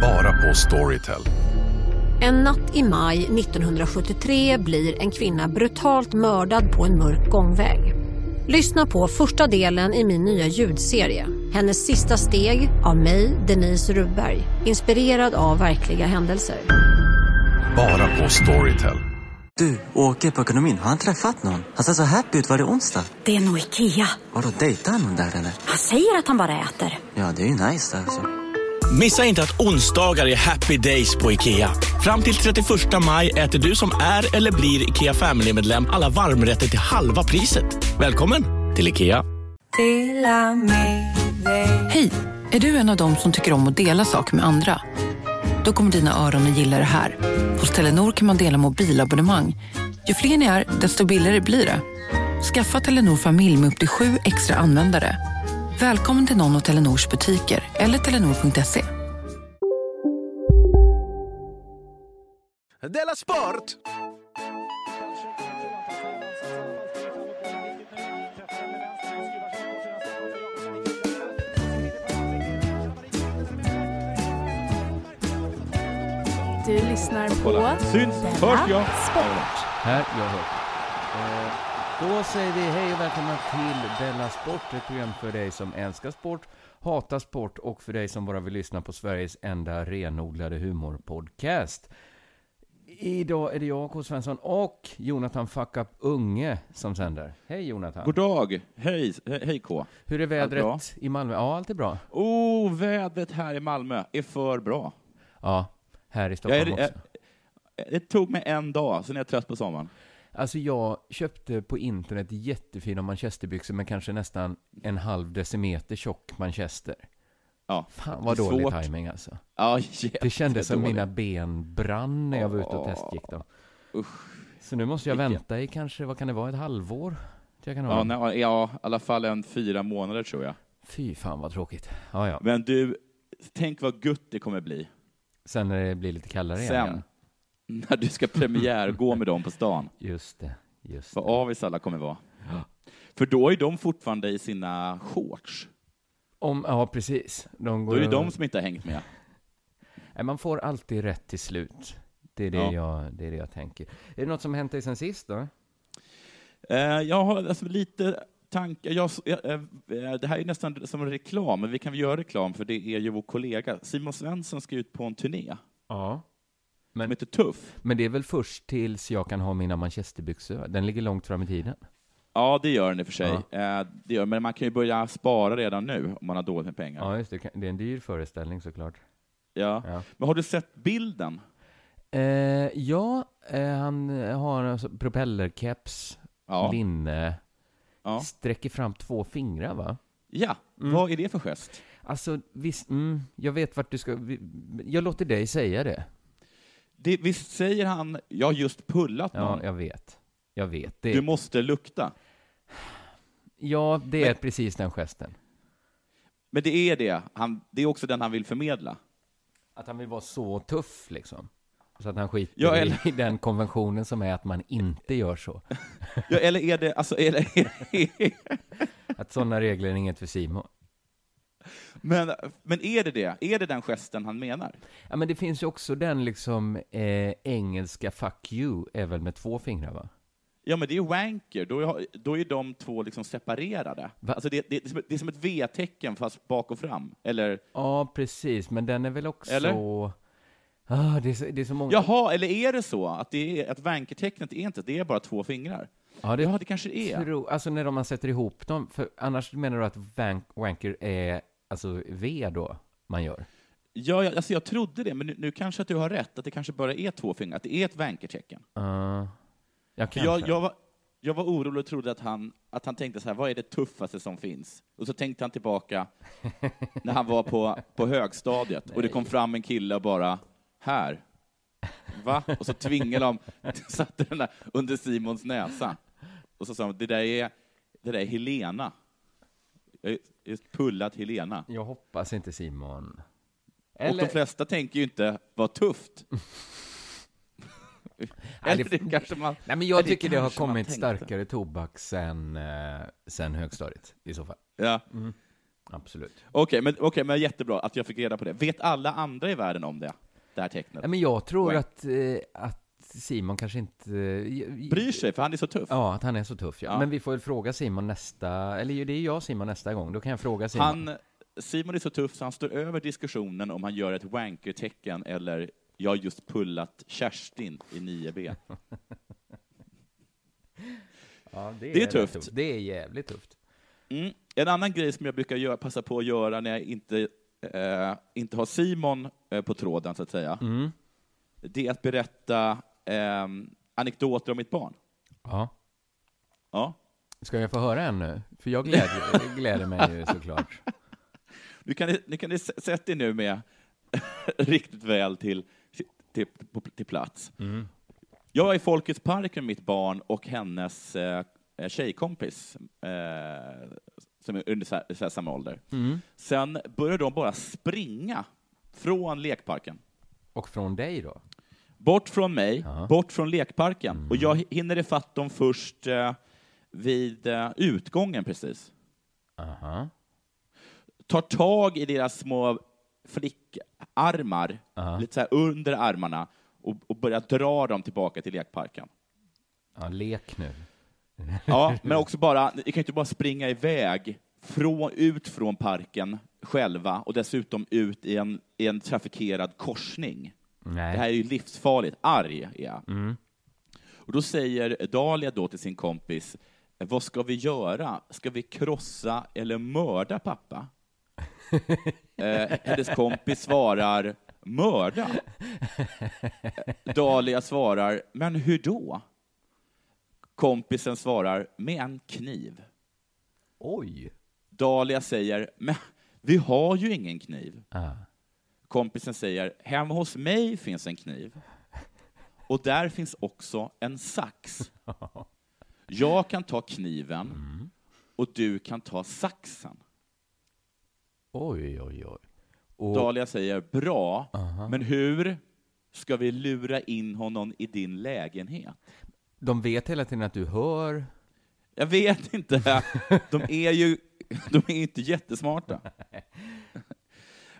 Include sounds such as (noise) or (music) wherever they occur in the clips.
Bara på Storytel. En natt i maj 1973 blir en kvinna brutalt mördad på en mörk gångväg. Lyssna på första delen i min nya ljudserie. Hennes sista steg av mig, Denise Rubberg. Inspirerad av verkliga händelser. Bara på Storytel. Du, åker på ekonomin. Har han träffat någon? Han ser så happy ut. Var det onsdag? Det är nog Ikea. Har du dejtar han någon där eller? Han säger att han bara äter. Ja, det är ju nice alltså. Missa inte att onsdagar är happy days på IKEA. Fram till 31 maj äter du som är eller blir IKEA Family-medlem alla varmrätter till halva priset. Välkommen till IKEA. Hej! Är du en av dem som tycker om att dela saker med andra? Då kommer dina öron att gilla det här. Hos Telenor kan man dela mobilabonnemang. Ju fler ni är, desto billigare blir det. Skaffa Telenor familj med upp till sju extra användare. Välkommen till någon av Telenors butiker eller telenor.se. Della Sport! Du lyssnar Kolla. på Syns. Hörs Della jag? Sport. Här, jag hör. Eh, Då säger vi hej och välkomna till Della Sport, ett program för dig som älskar sport, hatar sport och för dig som bara vill lyssna på Sveriges enda renodlade humorpodcast. Idag är det jag, K. Svensson, och Jonathan Fuck Up Unge som sänder. Hej Jonathan! God dag! Hej, he- hej K. Hur är bra? vädret i Malmö? Ja, allt är bra. Oh, vädret här i Malmö är för bra. Ja, här i Jag Stockholm är, jag, också. det tog mig en dag, sen är jag trött på sommaren. Alltså jag köpte på internet jättefina manchesterbyxor med kanske nästan en halv decimeter tjock manchester. Ja. Fan vad Det är dålig svårt. timing alltså. Ja, Det kändes som jättedåligt. mina ben brann när jag var ute och Ja. testgick dem. Så nu måste jag Vilket- vänta i kanske, vad kan det vara, ett halvår? Till jag kan ha. Ja, dem. nej, ja, i alla fall en fyra månader tror jag. Fy fan vad tråkigt. Ja, ja. Men du, tänk vad gutt det kommer bli Sen när det blir lite kallare igen. sen. När du ska premiärgå med dem på stan. ja. Just det, just det. Vad avis alla kommer vara. För då är de fortfarande i sina shorts. Om, ja, precis. De Då går är det och- de som inte har hängt med. Nej, man får alltid rätt till slut. Det är det, Ja. jag, det är det jag tänker. Är det något som hänt dig sen sist då? Eh, Jag har alltså lite tankar. Jag, jag, eh, det här är nästan som en reklam, men vi kan väl göra reklam för det är ju vår kollega. Simon Svensson ska ut på en turné Ja. som Men, heter Tuff. men det är väl först tills jag kan ha mina manchesterbyxor? Den ligger långt fram i tiden. Ja, det gör den i och för sig. Eh, Det gör, men man kan ju börja spara redan nu om man har dåligt med pengar. Ja, just det. Det är en dyr föreställning såklart. Ja. Ja. Men har du sett bilden? Eh, ja, eh, han har alltså propellerkeps, Ja. linne, Ja. sträcker fram två fingrar va? ja. Mm. Vad är det för gest? Alltså, visst, mm, jag vet vart du ska... vi- Jag låter dig säga det. Det, visst säger han ”jag har just pullat Ja, någon”? jag vet. Jag vet. Det, Du måste lukta. ja, det är precis den gesten. Men det är det. Han, det är också den han vill förmedla. Att han vill vara så tuff liksom. Så att han skiter Ja, i (laughs) den konventionen som är att man inte (laughs) gör så. Ja, eller är det... (laughs) Alltså, eller, Att sådana regler är inget för Simon. Men, men är det det? Är det den gesten han menar? Ja, men det finns ju också den liksom eh, engelska 'fuck you' är väl med två fingrar va? Ja, men det är wanker. Då är, då är de två liksom separerade. Va? Alltså det, det, är som ett- det är som ett V-tecken, fast bak och fram. Eller, Ja, precis, men den är väl också... Eller? Ah, det, är så, det är så många... jaha, eller är det så att, det är, att wankertecknet är inte det är bara två fingrar? ja, Ja, det kanske det är. Tro, alltså när de, man sätter ihop dem, för annars menar du att wank, wanker är alltså V då man gör? Ja, jag, alltså jag trodde det, men nu, nu kanske att du har rätt, att det kanske bara är två fingrar, att det är ett wankertecken. Uh, jag För kanske. Jag, jag, var, jag var orolig och trodde att han, att han tänkte så här, vad är det tuffaste som finns? Och så tänkte han (laughs) tillbaka när han var på, på högstadiet och det kom fram en kille och bara, här. Va? Och så tvingade de, (laughs) satte den där under Simons näsa. Och så sa de, det där är, det där är Helena. Jag har just pullat Helena. Jag hoppas inte Simon. Och de flesta tänker ju inte, vad tufft. (laughs) Nej, det- Eller det kanske man... Nej, men jag eller tycker det har kanske man kommit tänkte. starkare tobak sen, eh, sen högstadiet i så fall. Ja. Absolut. Okej, men, okay, men jättebra att jag fick reda på det. Vet alla andra i världen om det? Det här tecknet? Ja, men jag tror Poäng. att, eh, att Simon kanske inte... eh, Bryr sig, för han är så tuff. Ja, att han är så tuff ja. Ja. Men vi får väl fråga Simon nästa, eller ju, det är jag Simon nästa gång, då kan jag fråga Simon. Han, Simon är så tuff så han står över diskussionen om han gör ett wanker-tecken eller jag har just pullat Kerstin i (laughs) 9B. ja, det är rätt tufft. Det är jävligt tufft. Mm. En annan grej som jag brukar göra, passa på att göra när jag inte, eh, inte har Simon eh, på tråden, så att säga, Mm. det är att berätta eh, anekdoter om mitt barn. Ja. Ja. Ska jag få höra en nu? (laughs) För jag gläder, gläder mig ju såklart. Nu kan ni, nu kan ni sä- sätta er nu med (laughs) riktigt väl till, till, på- till plats. Jag är i Folkets park med mitt barn och hennes eh, tjejkompis eh, som är under så här, så här samma ålder. Sen börjar de bara springa från lekparken. Och från dig då? Bort från mig, bort från lekparken. Och jag hinner ifatt dem först eh, vid eh, utgången precis. Aha. tar tag i deras små flickarmar, lite så här under armarna, och, och börjar dra dem tillbaka till lekparken. Ja, lek nu. Ja, men också bara, ni kan ju inte bara springa iväg från, ut från parken själva och dessutom ut i en, i en trafikerad korsning. Nej. Mm. Det här är ju livsfarligt. Arg är jag. Och då säger Dahlia då till sin kompis, vad ska vi göra? Ska vi krossa eller mörda pappa? eh, hennes kompis svarar, mörda. Dahlia svarar, men hur då? Kompisen svarar, med en kniv. Oj! Dahlia säger, men vi har ju ingen kniv. Kompisen säger, hemma hos mig finns en kniv. Och där finns också en sax. Jag kan ta kniven och du kan ta saxen. Oj, oj, oj. Och, Dahlia säger, bra, men hur ska vi lura in honom i din lägenhet? de vet hela tiden att du hör. Jag vet inte. De är ju de är inte jättesmarta.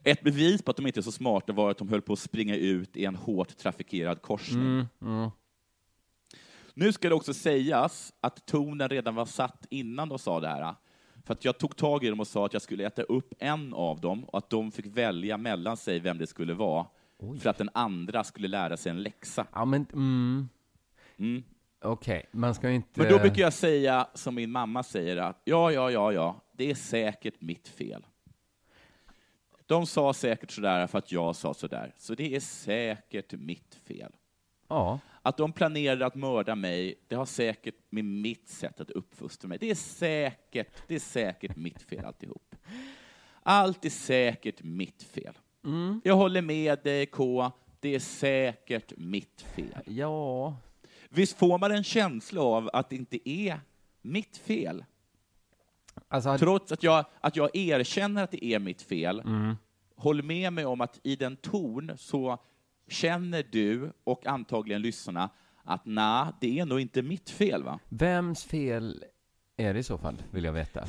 Ett bevis på att de inte är så smarta var att de höll på att springa ut i en hårt trafikerad korsning. Nu ska det också sägas att tonen redan var satt innan de sa det här. För att jag tog tag i dem och sa att jag skulle äta upp en av dem och att de fick välja mellan sig vem det skulle vara. För att den andra skulle lära sig en läxa. Ja, men... Mm. Mm. Okej, man ska ju inte... Men då brukar jag säga som min mamma säger att ja, ja, ja, ja, det är säkert mitt fel. De sa säkert sådär för att jag sa sådär, så det är säkert mitt fel. Ja. Att de planerade att mörda mig, det har säkert med mitt sätt att uppfostra mig. Det är säkert, det är säkert mitt fel alltihop. Allt är säkert mitt fel. Jag håller med dig K, det är säkert mitt fel. Ja. Visst får man en känsla av att det inte är mitt fel? Alltså, hade- Trots att jag, att jag erkänner att det är mitt fel, Mm. håll med mig om att i den ton så känner du och antagligen lyssnarna att nej, det är nog inte mitt fel. va? vems fel är det i så fall, vill jag veta?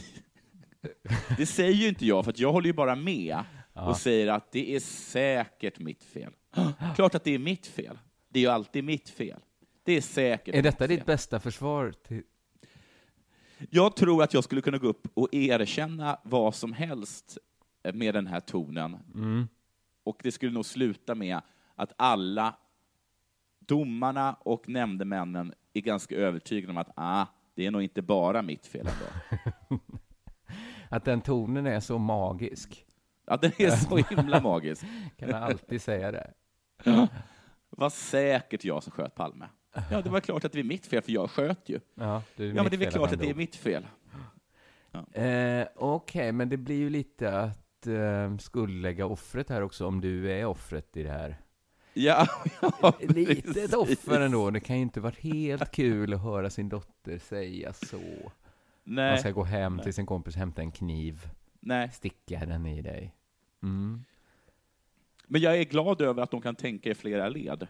Det säger ju inte jag, för att jag håller ju bara med och säger att det är säkert mitt fel. Klart att det är mitt fel. Det är ju alltid mitt fel. Det är säkert Är detta mitt fel. ditt bästa försvar? Till... Jag tror att jag skulle kunna gå upp och erkänna vad som helst med den här tonen. Mm. Och det skulle nog sluta med att alla domarna och nämndemännen är ganska övertygade om att ah, det är nog inte bara mitt fel ändå. Att den tonen är så magisk. Ja, det är (laughs) så himla magiskt. Kan man alltid säga det? Vad säkert jag som sköt Palme. Ja, det var klart att det är mitt fel, för jag sköt ju. Ja, det är Ja, men det är väl mitt fel klart han att det är dog. mitt fel. Eh, Okej, men det blir ju lite att eh, skuldlägga offret här också, om du är offret i det här. Ja, (laughs) ja, Lite ett precis. offer ändå. Det kan ju inte vara helt kul att höra sin dotter säga så. Man Nej, ska gå hem till sin kompis, hämta en kniv, nej. sticka den i dig. Men jag är glad över att de kan tänka i flera led.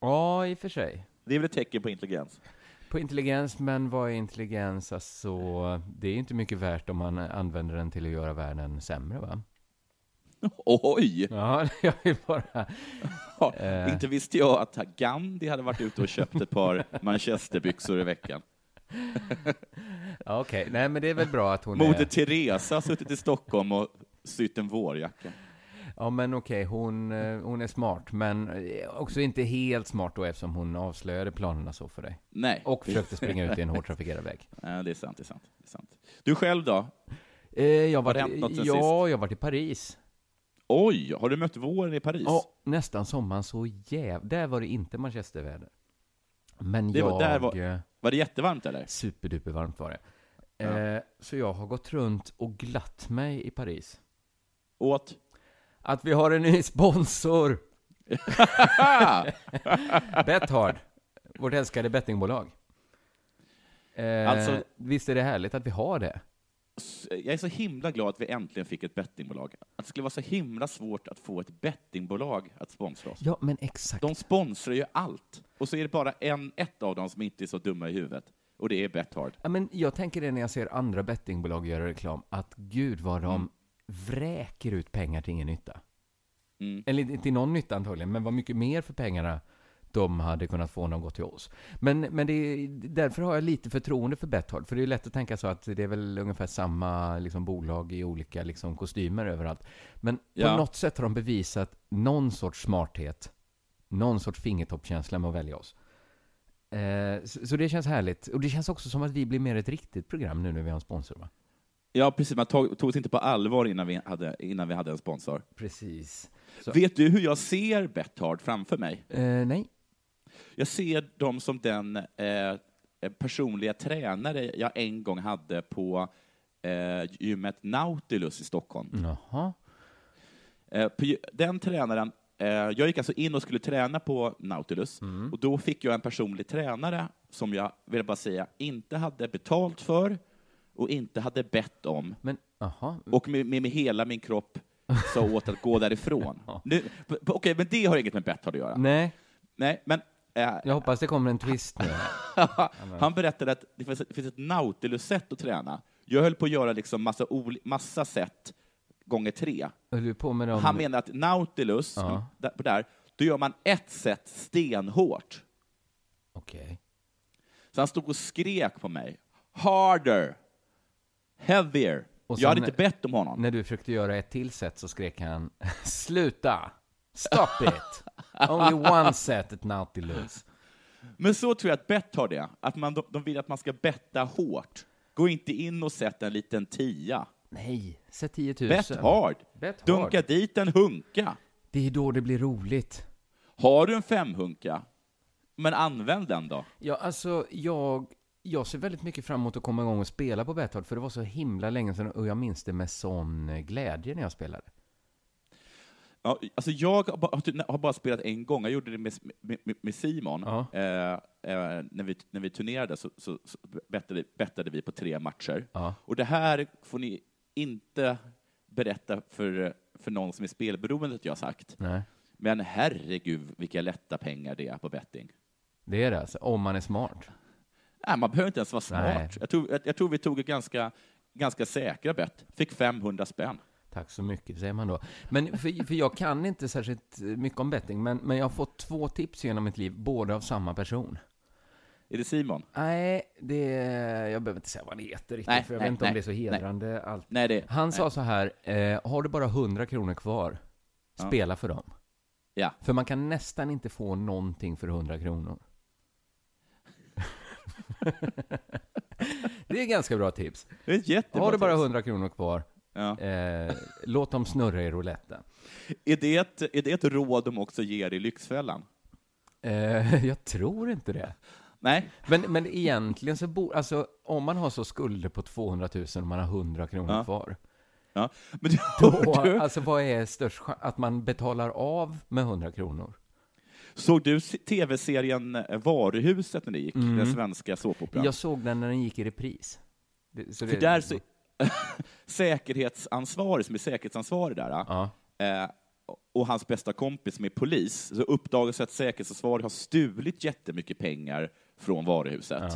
Ja, i och för sig. Det är väl ett tecken på intelligens. På intelligens, men vad är intelligens? Alltså, det är inte mycket värt om man använder den till att göra världen sämre, va? (laughs) Oj! Ja, (laughs) jag vill bara... Ja, Eh. inte visste jag att Gandhi hade varit ute och köpt ett (laughs) par manchesterbyxor i veckan. Ja, Okej, nej men det är väl bra att hon Moder är... Teresa har suttit i Stockholm och sytt en vårjacka. Ja, men okej, hon, eh, hon är smart, men eh, också inte helt smart då eftersom hon avslöjade planerna så för dig. Nej. Och försökte springa ut i en hårt trafikerad väg. Ja, det är sant, det är sant. Det är sant. Du själv då? Eh, jag det var, hänt något sen ja, jag var i Paris. Oj, har du mött våren i Paris? Ja, nästan sommaren så jäv... Där var det inte manchesterväder. Men Det jag... var- där var- eh, Var det jättevarmt eller? Superduper varmt var det. Eh, så jag har gått runt och glatt mig i Paris. Åt? Att vi har en ny (laughs) sponsor! Bethard, vårt älskade bettingbolag. Eh, Alltså- visst är det härligt att vi har det? Jag är så himla glad att vi äntligen fick ett bettingbolag. Att det skulle vara så himla svårt att få ett bettingbolag att sponsra oss. Ja, men exakt. De sponsrar ju allt. Och så är det bara en, ett av dem som inte är så dumma i huvudet. Och det är Bethard. Ja, men jag tänker det när jag ser andra bettingbolag göra reklam, att gud vad de vräker ut pengar till ingen nytta. Mm. Eller inte till någon nytta antagligen, men vad mycket mer för pengarna de hade kunnat få om de gått till oss. Men, men det är, därför har jag lite förtroende för Betthard, för det är lätt att tänka så att det är väl ungefär samma liksom, bolag i olika liksom, kostymer överallt. Men på Ja. något sätt har de bevisat någon sorts smarthet, någon sorts fingertoppkänsla med att välja oss. Eh, så, så det känns härligt. Och det känns också som att vi blir mer ett riktigt program nu när vi har en sponsor, va? Ja, precis. Man tog, tog oss inte på allvar innan vi hade, innan vi hade en sponsor. Precis. Så, Vet du hur jag ser Bethard framför mig? eh, nej. Jag ser dem som den eh, personliga tränare jag en gång hade på eh, gymmet Nautilus i Stockholm. Jaha. Eh, på, ju- den tränaren, eh, jag gick alltså in och skulle träna på Nautilus och då fick jag en personlig tränare som jag, vill bara säga, inte hade betalt för och inte hade bett om Men, jaha. och med, med, med hela min kropp sa åt att gå därifrån. Nu, p- p- Okej, men det har inget med Bethard att göra. Nej. Nej, men eh, Jag hoppas det kommer en twist nu. Han berättade att det finns, det finns ett Nautilus-sätt att träna. Jag höll på att göra liksom massa, oli- massa sätt gånger tre. Höll du på med dem? Han menar att Nautilus, Ja. där, på där, då gör man ett sätt stenhårt. Okej. Så han stod och skrek på mig. Harder! Heavier! Och jag hade sen- inte bett om honom. När du försökte göra ett till set så skrek han (laughs) Sluta! Stop it! Only one set at Nautilus. Men så tror jag att bett har det, att man, de, de vill att man ska betta hårt. Gå inte in och sätt en liten tia. Nej, sätt 10 000. Bett hard. Bet Dunka hard. dit en hunka. Det är då det blir roligt. Har du en femhunka, men använd den då. Ja, alltså jag, jag ser väldigt mycket fram emot att komma igång och spela på Betthard, för det var så himla länge sedan och jag minns det med sån eh, glädje när jag spelade. Ja, alltså jag har bara, har bara spelat en gång. Jag gjorde det med, med, med Simon. Ja. Eh, eh, när, vi, när vi turnerade så, så, så bettade, bettade vi på tre matcher. Ja. Och det här får ni inte berätta för, för någon som är spelberoende att jag har sagt. Nej. Men herregud vilka lätta pengar det är på betting. Det är det alltså, om man är smart. Nej, man behöver inte ens vara Nej. smart. Jag tror, jag, jag tror vi tog ett ganska, ganska säkra bett. Fick 500 spänn. Tack så mycket, säger man då. Men för, för jag kan inte särskilt eh, mycket om betting, men, men jag har fått två tips genom mitt liv, båda av samma person. Är det Simon? Nej, det, jag behöver inte säga vad han heter riktigt, Nej, för jag nej, vet inte om nej, det är så hedrande allt. Nej, det Han nej. sa så här, eh, har du bara 100 kronor kvar, Ja. spela för dem. Ja. För man kan nästan inte få någonting för 100 kronor. (laughs) det är ganska bra tips. Det är ett jättebra har du bara tips. 100 kronor kvar, Ja. eh, låt dem snurra i rouletten. Är det, ett, är det ett råd de också ger i Lyxfällan? Eh, jag tror inte det. Nej? Men, men egentligen så borde, alltså om man har så skulder på 200 000 och man har 100 kronor Ja. (laughs) kvar. Ja. Men du, Då, hör du, alltså vad är störst chans? Att man betalar av med 100 kronor? (laughs) såg du se- tv-serien eh, Varuhuset när det gick? Den svenska såpoperan? Jag såg den när den gick i repris. Det, så För där så, säkerhetsansvarig, som är säkerhetsansvarig där, Ja. eh, och hans bästa kompis som är polis, så uppdagas att säkerhetsansvarig har stulit jättemycket pengar från varuhuset.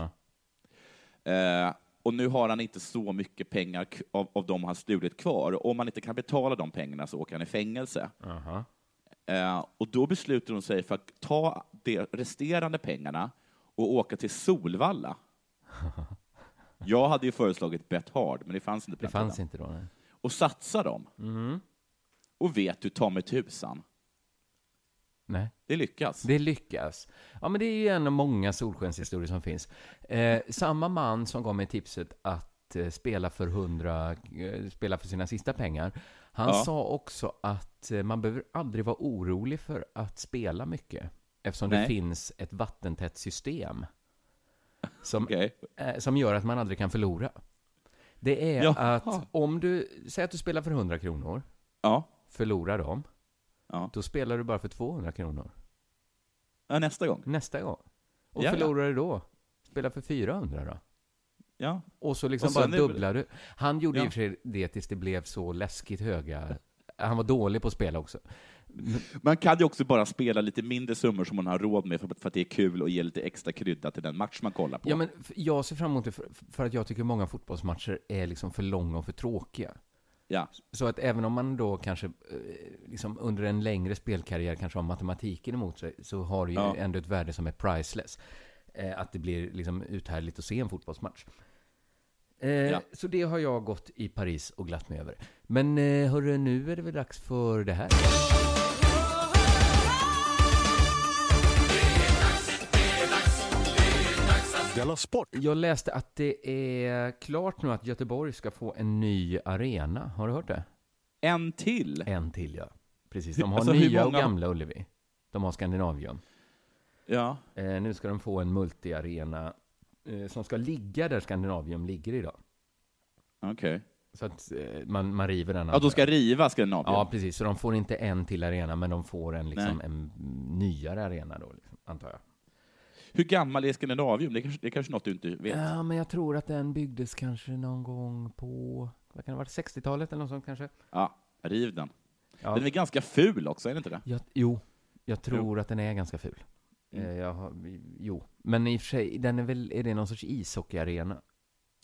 Ja. Eh, och nu har han inte så mycket pengar k- av, av de han stulit kvar. Om han inte kan betala de pengarna så åker han i fängelse. Aha. Eh, och då beslutar hon sig för att ta de resterande pengarna och åka till (laughs) Solvalla. Jag hade ju föreslagit Bet Hard, men det fanns inte på Det den fanns tiden. inte då. Nej. Och satsa dem. Och vet du, ta mig tusan, nej. det lyckas. Det lyckas. Ja, men det är ju en av många solskenshistorier som finns. Eh, samma man som gav mig tipset att eh, spela för hundra, eh, spela för sina sista pengar, han Ja. sa också att eh, man behöver aldrig vara orolig för att spela mycket, eftersom det Nej. finns ett vattentätt system som, Okej. eh, som gör att man aldrig kan förlora. Det är Jaha. att om du, säg att du spelar för 100 kronor, Ja. förlorar dem, Ja. då spelar du bara för 200 kronor ja, nästa gång. nästa gång. Ja, Och ja. förlorar du då, spela för 400 då. Ja. Och så liksom Och bara sen är det- dubblar du. Han gjorde Ja. i och för sig det tills det blev så läskigt höga. Han var dålig på att spela också. Man kan ju också bara spela lite mindre summor som man har råd med för, för att det är kul och ger lite extra krydda till den match man kollar på. Ja, men f- jag ser fram emot det för, för att jag tycker många fotbollsmatcher är liksom för långa och för tråkiga. ja. Så att även om man då kanske eh, liksom under en längre spelkarriär kanske har matematiken emot sig så har det ju Ja. ändå ett värde som är priceless. Eh, att det blir liksom uthärdligt att se en fotbollsmatch. Eh, Ja. Så det har jag gått i Paris och glatt mig över. Men eh, hörru, nu är det väl dags för det här. Della Sport. Jag läste att det är klart nu att Göteborg ska få en ny arena. Har du hört det? En till! En till ja. Precis, de har Alltså, hur nya och många- gamla Ullevi. De har Skandinavium. Ja. Eh, nu ska de få en multiarena eh, som ska ligga där Skandinavium ligger idag. Okej. Så att eh, man, man river den. Ja, de ska andra. riva Skandinavien? Ja, precis. Så de får inte en till arena, men de får en, liksom, Nej. en nyare arena då, liksom, antar jag. Hur gammal är Skandinavien? Det är kanske, det är kanske något du inte vet? Ja, men jag tror att den byggdes kanske någon gång på, vad kan det ha varit, 60-talet eller något sånt kanske? Ja, riv den. Ja. Den är ganska ful också, är den inte det? Jag, jo, jag tror att den är ganska ful. Mm. Eh, jag har, jo, men i och för sig, den är väl, är det någon sorts ishockeyarena?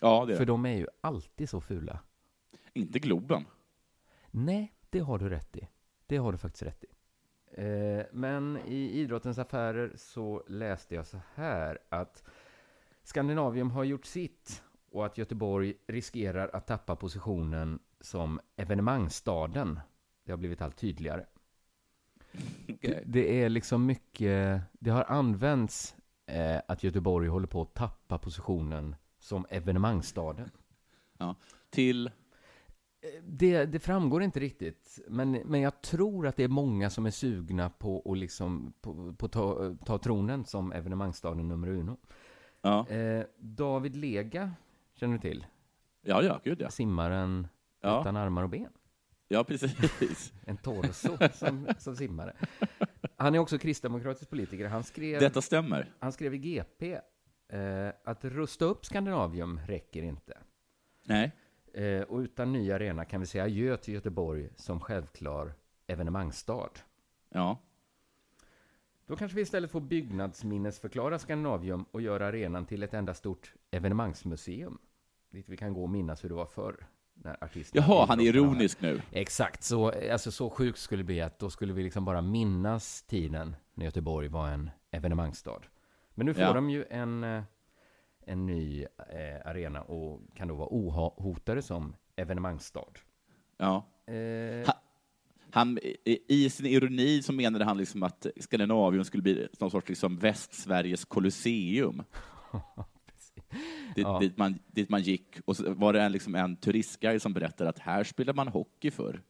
Ja, det är För det. de är ju alltid så fula. Inte Globen. Nej, det har du rätt i. Det har du faktiskt rätt i. Eh, men i idrottens affärer så läste jag så här att Skandinavium har gjort sitt och att Göteborg riskerar att tappa positionen som evenemangsstaden. Det har blivit allt tydligare. Det- Det är liksom mycket, det har använts eh, att Göteborg håller på att tappa positionen som evenemangsstaden. Ja. Till... Det, det framgår inte riktigt, men, men jag tror att det är många som är sugna på att liksom, på, på ta, ta tronen som evenemangsstaden nummer uno. Ja, Eh, David Lega, känner du till? ja, ja gud ja. Simmaren Ja. utan armar och ben. Ja, precis. (laughs) En torso som, som simmare. Han är också kristdemokratisk politiker. Han skrev, Detta stämmer. han skrev i GP eh, att rusta upp Skandinavium räcker inte. Nej. Eh, och utan ny arena kan vi säga adjö till Göteborg som självklar evenemangsstad. Ja. Då kanske vi istället får byggnadsminnesförklara Skandinavium och göra arenan till ett enda stort evenemangsmuseum. Dit vi kan gå och minnas hur det var förr. När artisterna Jaha, han är idrottarna var här. ironisk nu. Exakt, så, alltså, så sjukt skulle det bli att då skulle vi liksom bara minnas tiden när Göteborg var en evenemangsstad. Men nu får Ja. de ju en, eh, en ny eh, arena och kan då vara ohotade som evenemangsstad. Ja. Eh, Ha- Han, i, I sin ironi så menade han liksom att Skandinavien skulle bli någon sorts liksom Västsveriges Colosseum. dit, Ja. dit, man, dit man gick och så var det en, liksom en turistguide som berättade att här spelade man hockey förr.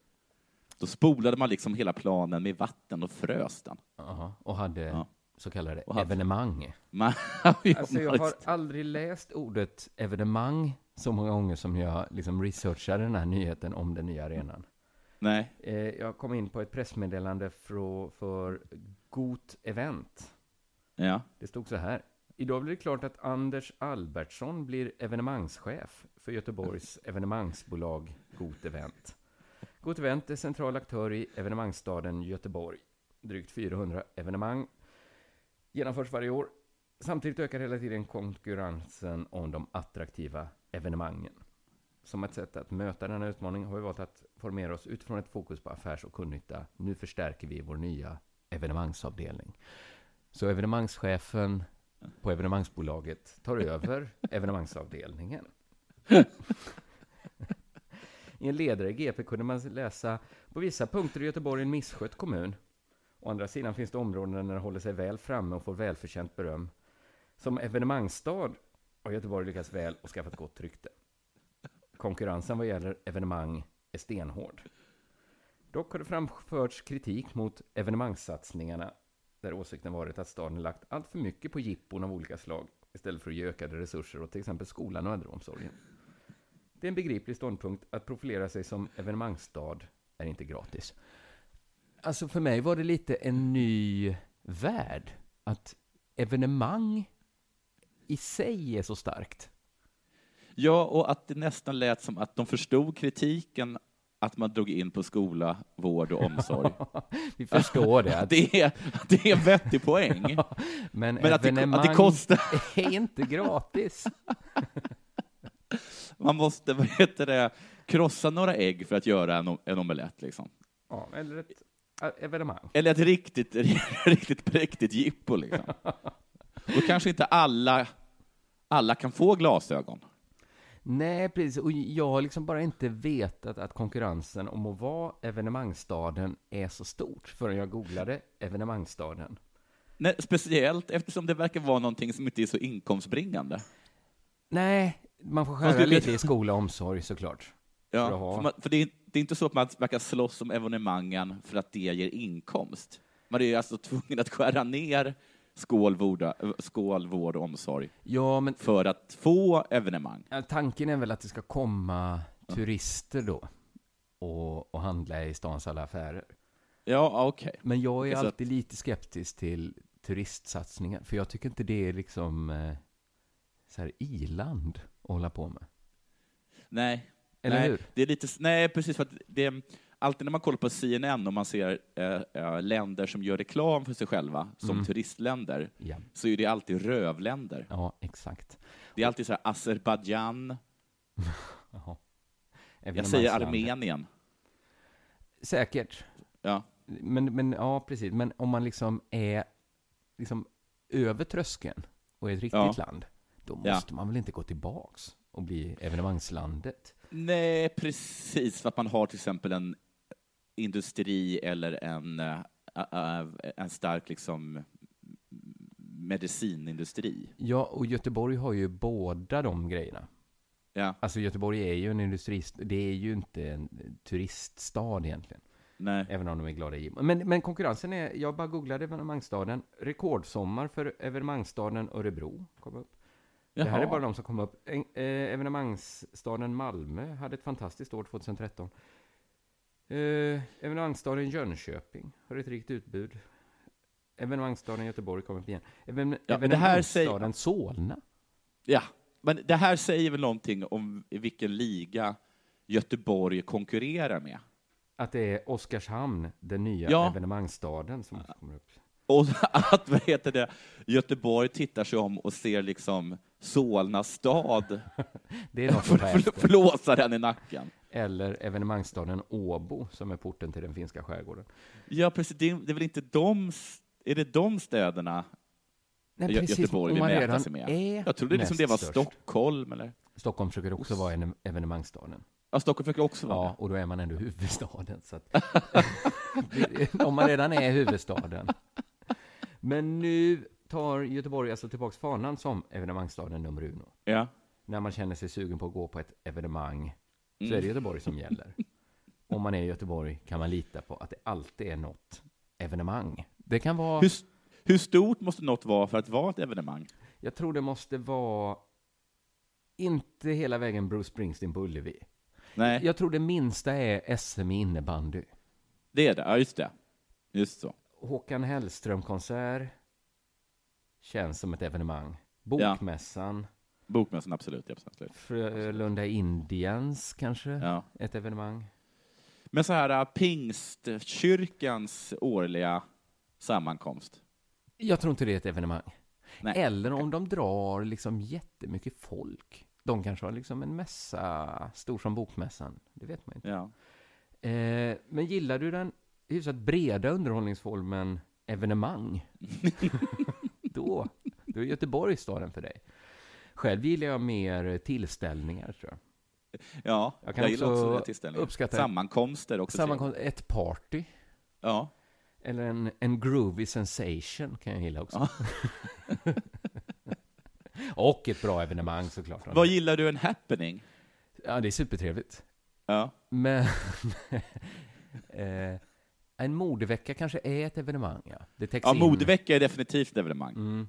Då spolade man liksom hela planen med vatten och frös den. (laughs) aha, och hade Ja. så kallade Och hade- evenemang. Man, Alltså jag har aldrig läst ordet evenemang så många gånger som jag liksom researchade den här nyheten om den nya arenan. Nej, Eh, jag kom in på ett pressmeddelande för, för Got Event. ja. Det stod så här. Idag blir det klart att Anders Albertsson blir evenemangschef för Göteborgs evenemangsbolag Got Event. Got Event är central aktör i evenemangsstaden Göteborg. Drygt 400 evenemang genomförs varje år. Samtidigt ökar hela tiden konkurrensen om de attraktiva evenemangen. Som ett sätt att möta denna utmaning har vi valt att formera oss utifrån ett fokus på affärs och kundnytta. Nu förstärker vi vår nya evenemangsavdelning. Så evenemangschefen på evenemangsbolaget tar över (laughs) evenemangsavdelningen. (laughs) I en ledare i GP kunde man läsa på vissa punkter är Göteborg en misskött kommun. Å andra sidan finns det områden där den håller sig väl framme och får välförtjänt beröm. Som evenemangsstad har Göteborg lyckats väl och skaffat gott rykte. Konkurrensen vad gäller evenemang är stenhård. Dock har det framförts kritik mot evenemangssatsningarna där åsikten varit att staden lagt allt för mycket på jippon av olika slag istället för att ge ökade resurser åt till exempel skolan och äldreomsorgen. Det är en begriplig ståndpunkt att profilera sig som evenemangsstad är inte gratis. Alltså för mig var det lite en ny värld. Att evenemang i sig är så starkt. (laughs) Ja, och att det nästan lät som att de förstod kritiken att man drog in på skola, vård och omsorg. Vi förstår det. (laughs) att- Det är, det är en vettig poäng. men men att det- att det evenemang kostar. är inte gratis. Man måste vad heter det, krossa några ägg för att göra en, om- en omelett. Liksom. Ja, eller ett äh, evenemang. Eller ett riktigt, (laughs) riktigt präktigt jippo. Liksom. Då kanske inte alla, alla kan få glasögon. Nej, precis. Och jag har liksom bara inte vetat att konkurrensen om att vara evenemangsstaden är så stort förrän jag googlade evenemangsstaden. Nej, speciellt eftersom det verkar vara någonting som inte är så inkomstbringande. Nej, man får skära skulle- lite i skola och omsorg såklart. För att ha. Ja, för man, för det, är, det är inte så att man verkar slåss om evenemangen för att det ger inkomst. Man är ju alltså tvungen att skära ner skål, vårda, skål, vård och omsorg Ja, men för att få evenemang. Ja, Tanken är väl att det ska komma turister då och, och handla i stans alla affärer. Ja, ah, okej. Men jag är Okej, så alltid lite skeptisk till turistsatsningar, för jag tycker inte det är liksom eh, så här iland att hålla på med. Nej. Eller nej, hur? Det är lite, s- nej, precis. För att det, alltid när man kollar på CNN och man ser eh, eh, länder som gör reklam för sig själva som turistländer, Mm. Ja, så är det alltid rövländer. ja exakt. Det är alltid så här Azerbajdzjan, Jaha. jag säger Evenemangsland. Armenien. Säkert. Ja. Men, men ja, precis. Men om man liksom är liksom över tröskeln och är ett riktigt Ja. land, då Ja. måste man väl inte gå tillbaks och bli evenemangslandet? Nej, precis. För att man har till exempel en industri eller en, eh, eh, en stark liksom, medicinindustri. Ja, och Göteborg har ju båda de grejerna. Ja, Alltså Göteborg är ju en industrist, det är ju inte en turiststad egentligen. nej. Även om de är glada i men, men konkurrensen är, jag bara googlade evenemangsstaden, rekordsommar för evenemangsstaden Örebro kom upp. Det här är Jaha. bara de som kom upp. En- eh, Evenemangsstaden Malmö hade ett fantastiskt år 2013. Eh, Evenemangsstaden Jönköping har ett rikt utbud. Evenemangsstaden Göteborg kom upp igen. Even, Ja, men det här säger- evenemangsstaden Solna. Ja, men det här säger väl någonting om i vilken liga Göteborg konkurrerar med. Att det är Oskarshamn, den nya Ja. evenemangsstaden, som också kommer upp. Och (laughs) att vad heter det, Göteborg tittar sig om och ser liksom Solna stad Det (laughs) är något att ta fl- efter. flåsa den i nacken. Eller evenemangsstaden Åbo, som är porten till den finska skärgården. Ja, precis. Det är, det är väl inte de, s- är det de städerna Nej, Gö- Göteborg om vill man mäta redan sig med? är Jag trodde liksom näst det var störst. Stockholm, eller? Stockholm försöker också vara en evenemangsstaden. Ja, Stockholm försöker också vara Ja, och då är man ändå huvudstaden. Så att, (laughs) om man redan är huvudstaden. Men nu tar Göteborg alltså tillbaks fanan som evenemangsstaden nummer uno. det. Ja. När man känner sig sugen på att gå på ett evenemang så Mm. är det Göteborg (laughs) som gäller. Om man är i Göteborg kan man lita på att det alltid är något evenemang. Det kan vara... Hur, s- hur stort måste något vara för att vara ett evenemang? Jag tror det måste vara... Inte hela vägen Bruce Springsteen på Ullevi. Nej, Jag tror det minsta är SM i innebandy. det är det. Ja, just det. Just så. Håkan Hellström-konsert känns som ett evenemang. Bokmässan, Bokmässan, absolut. Ja, absolut. Frölunda Indians kanske, Ja. ett evenemang. Men så här, äh, pingstkyrkans årliga sammankomst. Jag tror inte det är ett evenemang. Nej. Eller om de drar liksom jättemycket folk. De kanske har liksom en mässa, stor som bokmässan. Det vet man inte. Ja. Eh, men gillar du den hyfsat breda underhållningsformen evenemang? (laughs) då, då är Göteborg staden för dig. Själv gillar jag mer tillställningar, tror jag. ja, Jag jag, kan gillar också också det tillställningar. uppskatta- Sammankomster också. Sammankomst, ett party. trevligt. Ja. Eller en, en groovy sensation kan jag gilla också. (laughs) Och ett bra evenemang såklart. Vad gillar du en happening? Ja, det är supertrevligt. Ja. Men (laughs) eh, en modevecka kanske är ett evenemang, ja. Det täcks ja, in. modevecka är definitivt ett evenemang. Mm.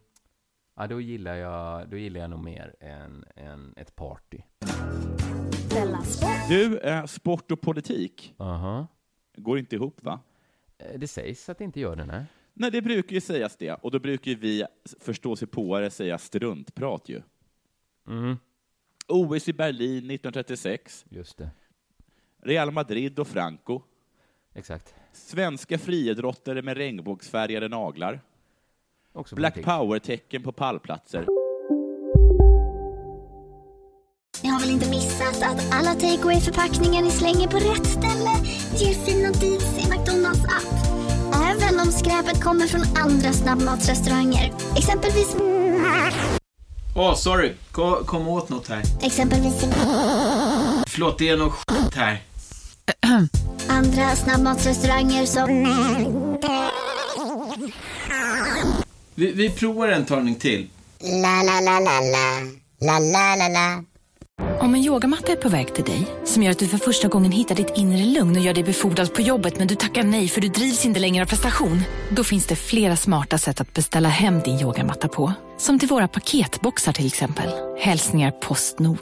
Ja, då gillar jag, då gillar jag nog mer än, än ett party. Du, eh, sport och politik Aha. går inte ihop, va? Eh, Det sägs att det inte gör det, nej. Nej, det brukar ju sägas det. Och då brukar ju vi förståsigpåare säga struntprat ju. OS i Berlin 1936, Just det. Real Madrid och Franco, Exakt. svenska friidrottare med regnbågsfärgade naglar, Också Black politik. Power-tecken på pallplatser. Ni har väl inte missat att alla takeaway förpackningar ni slänger på rätt ställe ger fina deals i McDonalds app. Även om skräpet kommer från andra snabbmatsrestauranger. Exempelvis... Åh, sorry. Kom, kom åt något här. Exempelvis... Förlåt, det är något skit här. Andra snabbmatsrestauranger som... Vi, vi provar en talning till. Om en yogamatta är på väg till dig, som gör att du för första gången hittar ditt inre lugn och gör dig befordrad på jobbet men du tackar nej för du drivs inte längre av prestation. Då finns det flera smarta sätt att beställa hem din yogamatta på. Som till våra paketboxar till exempel. Hälsningar Postnord.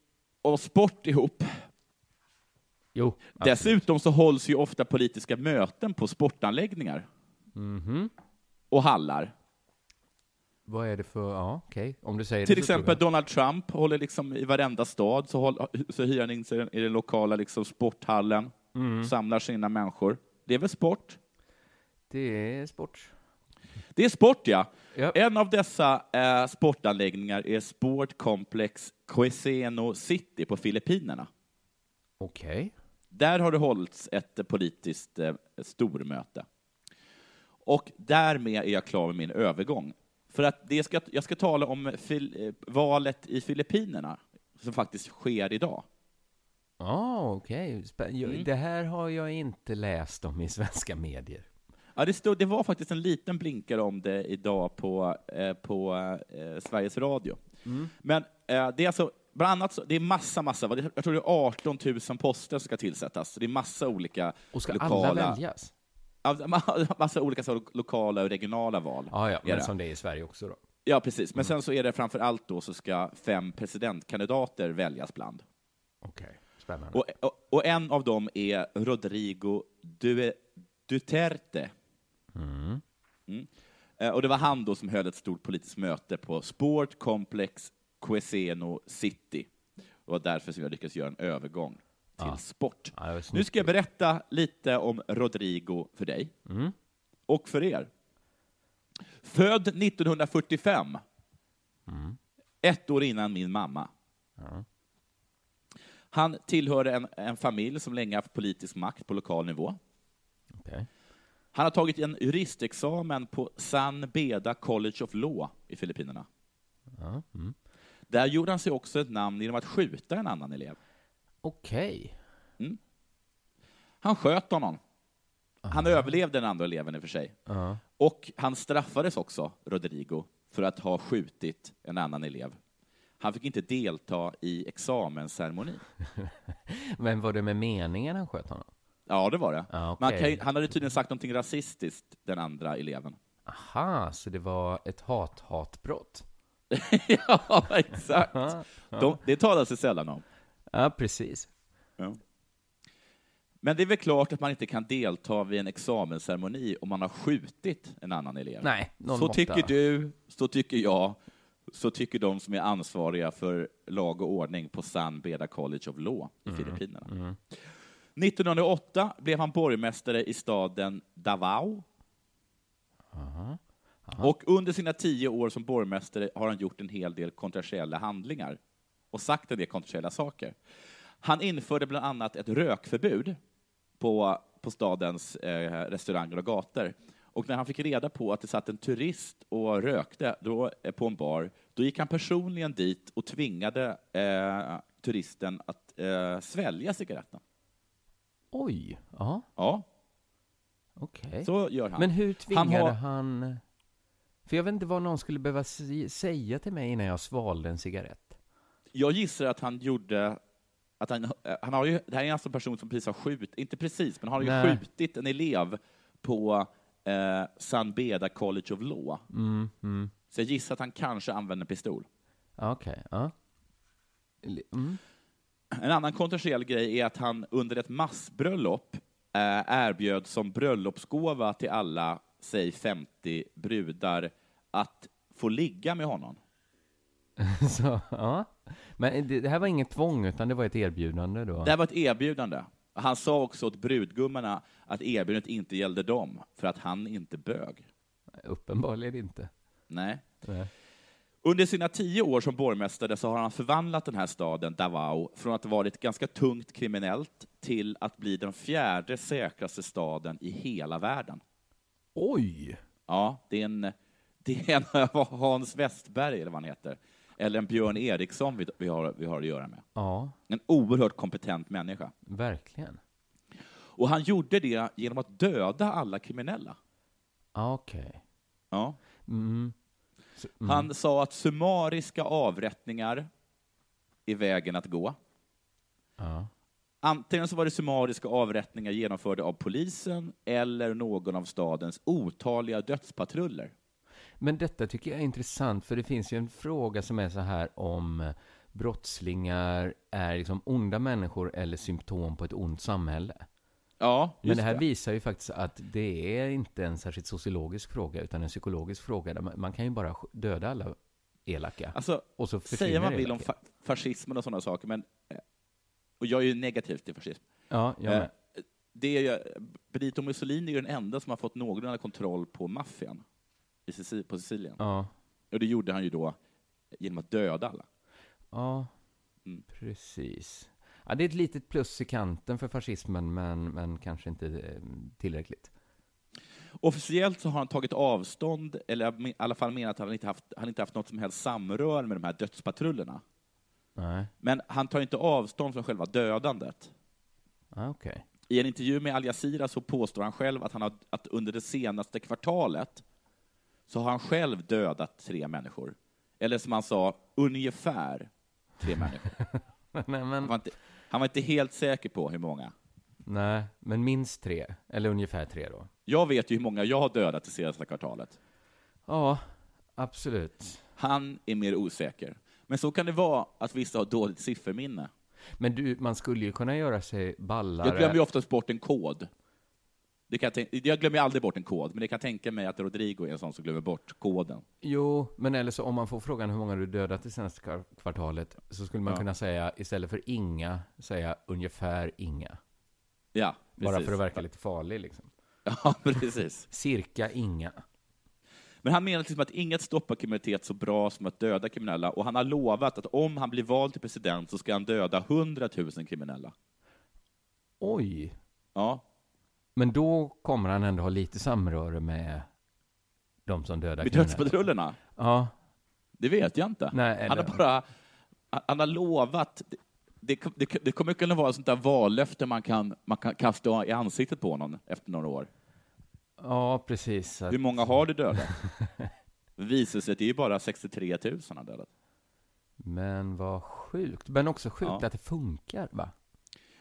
och sport ihop. Jo. Dessutom så hålls ju ofta politiska möten på sportanläggningar och hallar. Vad är det för, ja okej, om du säger Till det så tror exempel jag. Donald Trump håller liksom i varenda stad så, håll, så hyr han in sig i den- i den lokala liksom sporthallen, Mm. samlar sina människor. Det är väl sport? Det är sport. Det är sport, ja. Ja. En av dessa eh, sportanläggningar är Sport Complex Quezeno City på Filippinerna. Okej. Där har det hållits ett eh, politiskt eh, stormöte. Och därmed är jag klar med min övergång. För att det ska, jag ska tala om fil, eh, valet i Filippinerna, som faktiskt sker idag. Ja, okej. Spä- jag- Mm. Det här har jag inte läst om i svenska medier. Ja, det, stod, det var faktiskt en liten blinkare om det idag på, eh, på eh, Sveriges Radio. Mm. Men eh, det är alltså, bland annat, så, det är massa, massa, vad det- jag tror det är 18 000 poster som ska tillsättas. Så det är massa olika Och ska lokala... alla väljas? Ja, (laughs) Massa olika så, lokala och regionala val. Ja, Ah, ja, är men det. som Mm. det är i Sverige också då. Ja, precis. Men sen så är det framför allt då så ska fem presidentkandidater väljas bland. Okej, spännande. Och, och, och en av dem är Rodrigo Due- Duterte. Mm. Eh, Och det var han då som höll ett stort politiskt möte på Sport Complex Queseno City. Och därför som jag lyckades göra en övergång till sport. Ja, det var nu snyggt ska jag berätta lite om Rodrigo för dig. Mm. Och för er. Född 1945. Mm. Ett år innan min mamma. Han tillhörde en, en familj som länge haft politisk makt på lokal nivå. Okej. Han har tagit en juristexamen på San Beda College of Law i Filippinerna. Där gjorde han sig också ett namn genom att skjuta en annan elev. Okej. Han sköt honom. Han överlevde den andra eleven i och för sig. Och han straffades också, Rodrigo, för att ha skjutit en annan elev. Han fick inte delta i examensceremonin. Men var det med meningen han sköt honom? Ja, det var det. Ja, Men han, okej. kan, ju- han hade tydligen sagt någonting rasistiskt, den andra eleven. Aha, så det var ett hat-hatbrott? ja, exakt. De, det talas det sällan om. Ja, precis. Ja. Men det är väl klart att man inte kan delta vid en examensceremoni om man har skjutit en annan elev. Nej, någon så måtta. tycker du, så tycker jag, så tycker de som är ansvariga för lag och ordning på San Beda College of Law i Mm-hmm. Filippinerna. 1908 blev han borgmästare i staden Davao. Och under sina tio år som borgmästare har han gjort en hel del kontroversiella handlingar och sagt en del kontroversiella saker. Han införde bland annat ett rökförbud på, på stadens eh, restauranger och gator. Och när han fick reda på att det satt en turist och rökte då, eh, på en bar, då gick han personligen dit och tvingade eh, turisten att eh, svälja cigaretten. Oj, ja, Ja, okej. så gör han. Men hur tvingade har- han, För jag vet inte vad någon skulle behöva si- säga till mig innan jag svalde en cigarett. Jag gissar att han gjorde att han, eh, han har ju, det här är alltså en person som precis har skjutit, inte precis, men han har ju Nej. skjutit en elev på eh, San Beda College of Law. Mm, mm. Så jag gissar att han kanske använde pistol. Ja, Okej, ja. Li- Mm. En annan kontroversiell grej är att han under ett massbröllop eh, erbjöd som bröllopsgåva till alla, säg 50 brudar, att få ligga med honom. (laughs) Så, ja. Men det, det här var inget tvång, utan det var ett erbjudande då? Det här var ett erbjudande. Han sa också åt brudgummarna att erbjudandet inte gällde dem, för att han inte bög. Uppenbarligen inte. Nej. Nej. Under sina tio år som borgmästare så har han förvandlat den här staden, Davao, från att ha varit ganska tungt kriminellt till att bli den fjärde säkraste staden i hela världen. Oj! Ja, det är en, det är en (laughs) vad Hans Westberg, eller vad han heter, eller en Björn Eriksson vi, vi, har, vi har att göra med. Ja, En oerhört kompetent människa. verkligen. Och han gjorde det genom att döda alla kriminella. Ja, Okej. Ja. Mm. Så- mm. Han sa att summariska avrättningar är vägen att gå. Ja. Antingen så var det summariska avrättningar genomförda av polisen eller någon av stadens otaliga dödspatruller. Men detta tycker jag är intressant, för det finns ju en fråga som är så här om eh, brottslingar är liksom onda människor eller symptom på ett ont samhälle. Ja, Men just det här visar ju faktiskt att det är inte en särskilt sociologisk fråga, utan en psykologisk fråga. Där man, man kan ju bara sk- döda alla elaka. Alltså, och så säga försvinner vad man vill om elakhet. fa fascismen och sådana saker, men, eh, och jag är ju negativ till fascism. Ja, jag med. Eh, Det är, ju- Benito Mussolini är ju den enda som har fått någorlunda kontroll på maffian i Sicil- på Sicilien. Ja, Och det gjorde han ju då genom att döda alla. ja Mm. precis. Ja, det är ett litet plus i kanten för fascismen, men, men kanske inte eh, tillräckligt. Officiellt så har han tagit avstånd, eller i alla fall menat att han inte haft, han inte haft något som helst samrör med de här dödspatrullerna. Nej, Men han tar inte avstånd från själva dödandet. ah, okej. (laughs) I en intervju med Al Jazeera så påstår han själv att, han har, att under det senaste kvartalet så har han själv dödat tre människor. Eller som han sa, ungefär tre människor. Nej, Han var men, inte, han var inte helt säker på hur många. nej, men minst tre. Eller ungefär tre då. Jag vet ju hur många jag har dödat det senaste kvartalet. Ja, absolut. Han är mer osäker. Men så kan det vara att vissa har dåligt sifferminne. Men du, man skulle ju kunna göra sig ballare. Jag glömmer ju oftast bort en kod. Det kan jag, tänka, jag glömmer ju aldrig bort en kod, men det kan jag tänka mig att Rodrigo är en sån som glömmer bort koden. Jo, men eller så om man får frågan hur många du dödat det senaste kvar- kvartalet så skulle man Ja. kunna säga istället för inga, säga ungefär inga. Ja, precis. Bara för att verka lite farlig liksom. (laughs) Ja, precis. Cirka inga. Men han menar liksom att inget stoppar kriminalitet så bra som att döda kriminella, och han har lovat att om han blir vald till president så ska han döda 100 000 kriminella. Oj! Ja, Men då kommer han ändå ha lite samröre med de som dödar med kriminella. dödspatrullerna? Ja, Det vet jag inte. Nej, han eller- har bara han har lovat. Det, det, det kommer kunna vara sånt där vallöfte man kan, man kan kasta i ansiktet på någon efter några år. ja precis. så att- Hur många har du (laughs) dödat? Det visar sig att det är bara 63 000 han har dödat. Men vad sjukt. Men också sjukt Ja. att det funkar, va?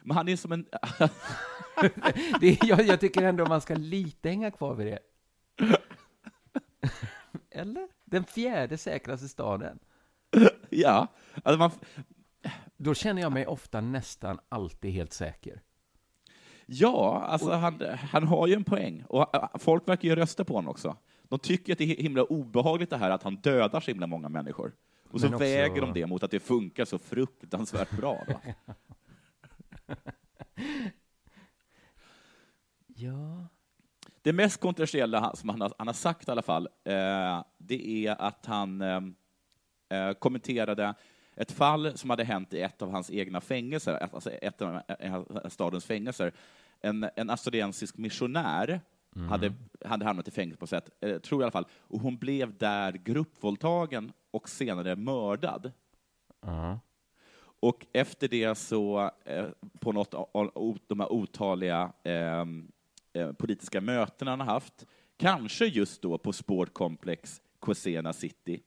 Men han är som en... (laughs) Det är, jag, jag tycker ändå man ska lite hänga kvar vid det. (laughs) Eller? Den fjärde säkraste staden. ja. Alltså man... Då känner jag mig ofta nästan alltid helt säker. Ja, alltså han, han har ju en poäng. Och äh, folk verkar ju rösta på honom också. De tycker att det är himla obehagligt det här att han dödar så himla många människor. Och så Men också- väger de det mot att det funkar så fruktansvärt bra. Va? Ja. Det mest kontroversiella han- som han har, han har sagt i alla fall, eh, det är att han eh, eh, kommenterade ett fall som hade hänt i ett av hans egna fängelser, ett- alltså ett av eh, stadens fängelser. En, en australiensisk missionär hade, hade hamnat i fängelse på ett sätt, eh, tror jag i alla fall, och hon blev där gruppvåldtagen och senare mördad. Och efter det så, eh, på något av- av o- de här otaliga eh, eh, politiska mötena han har haft, kanske just då på Sportkomplex Cosena City,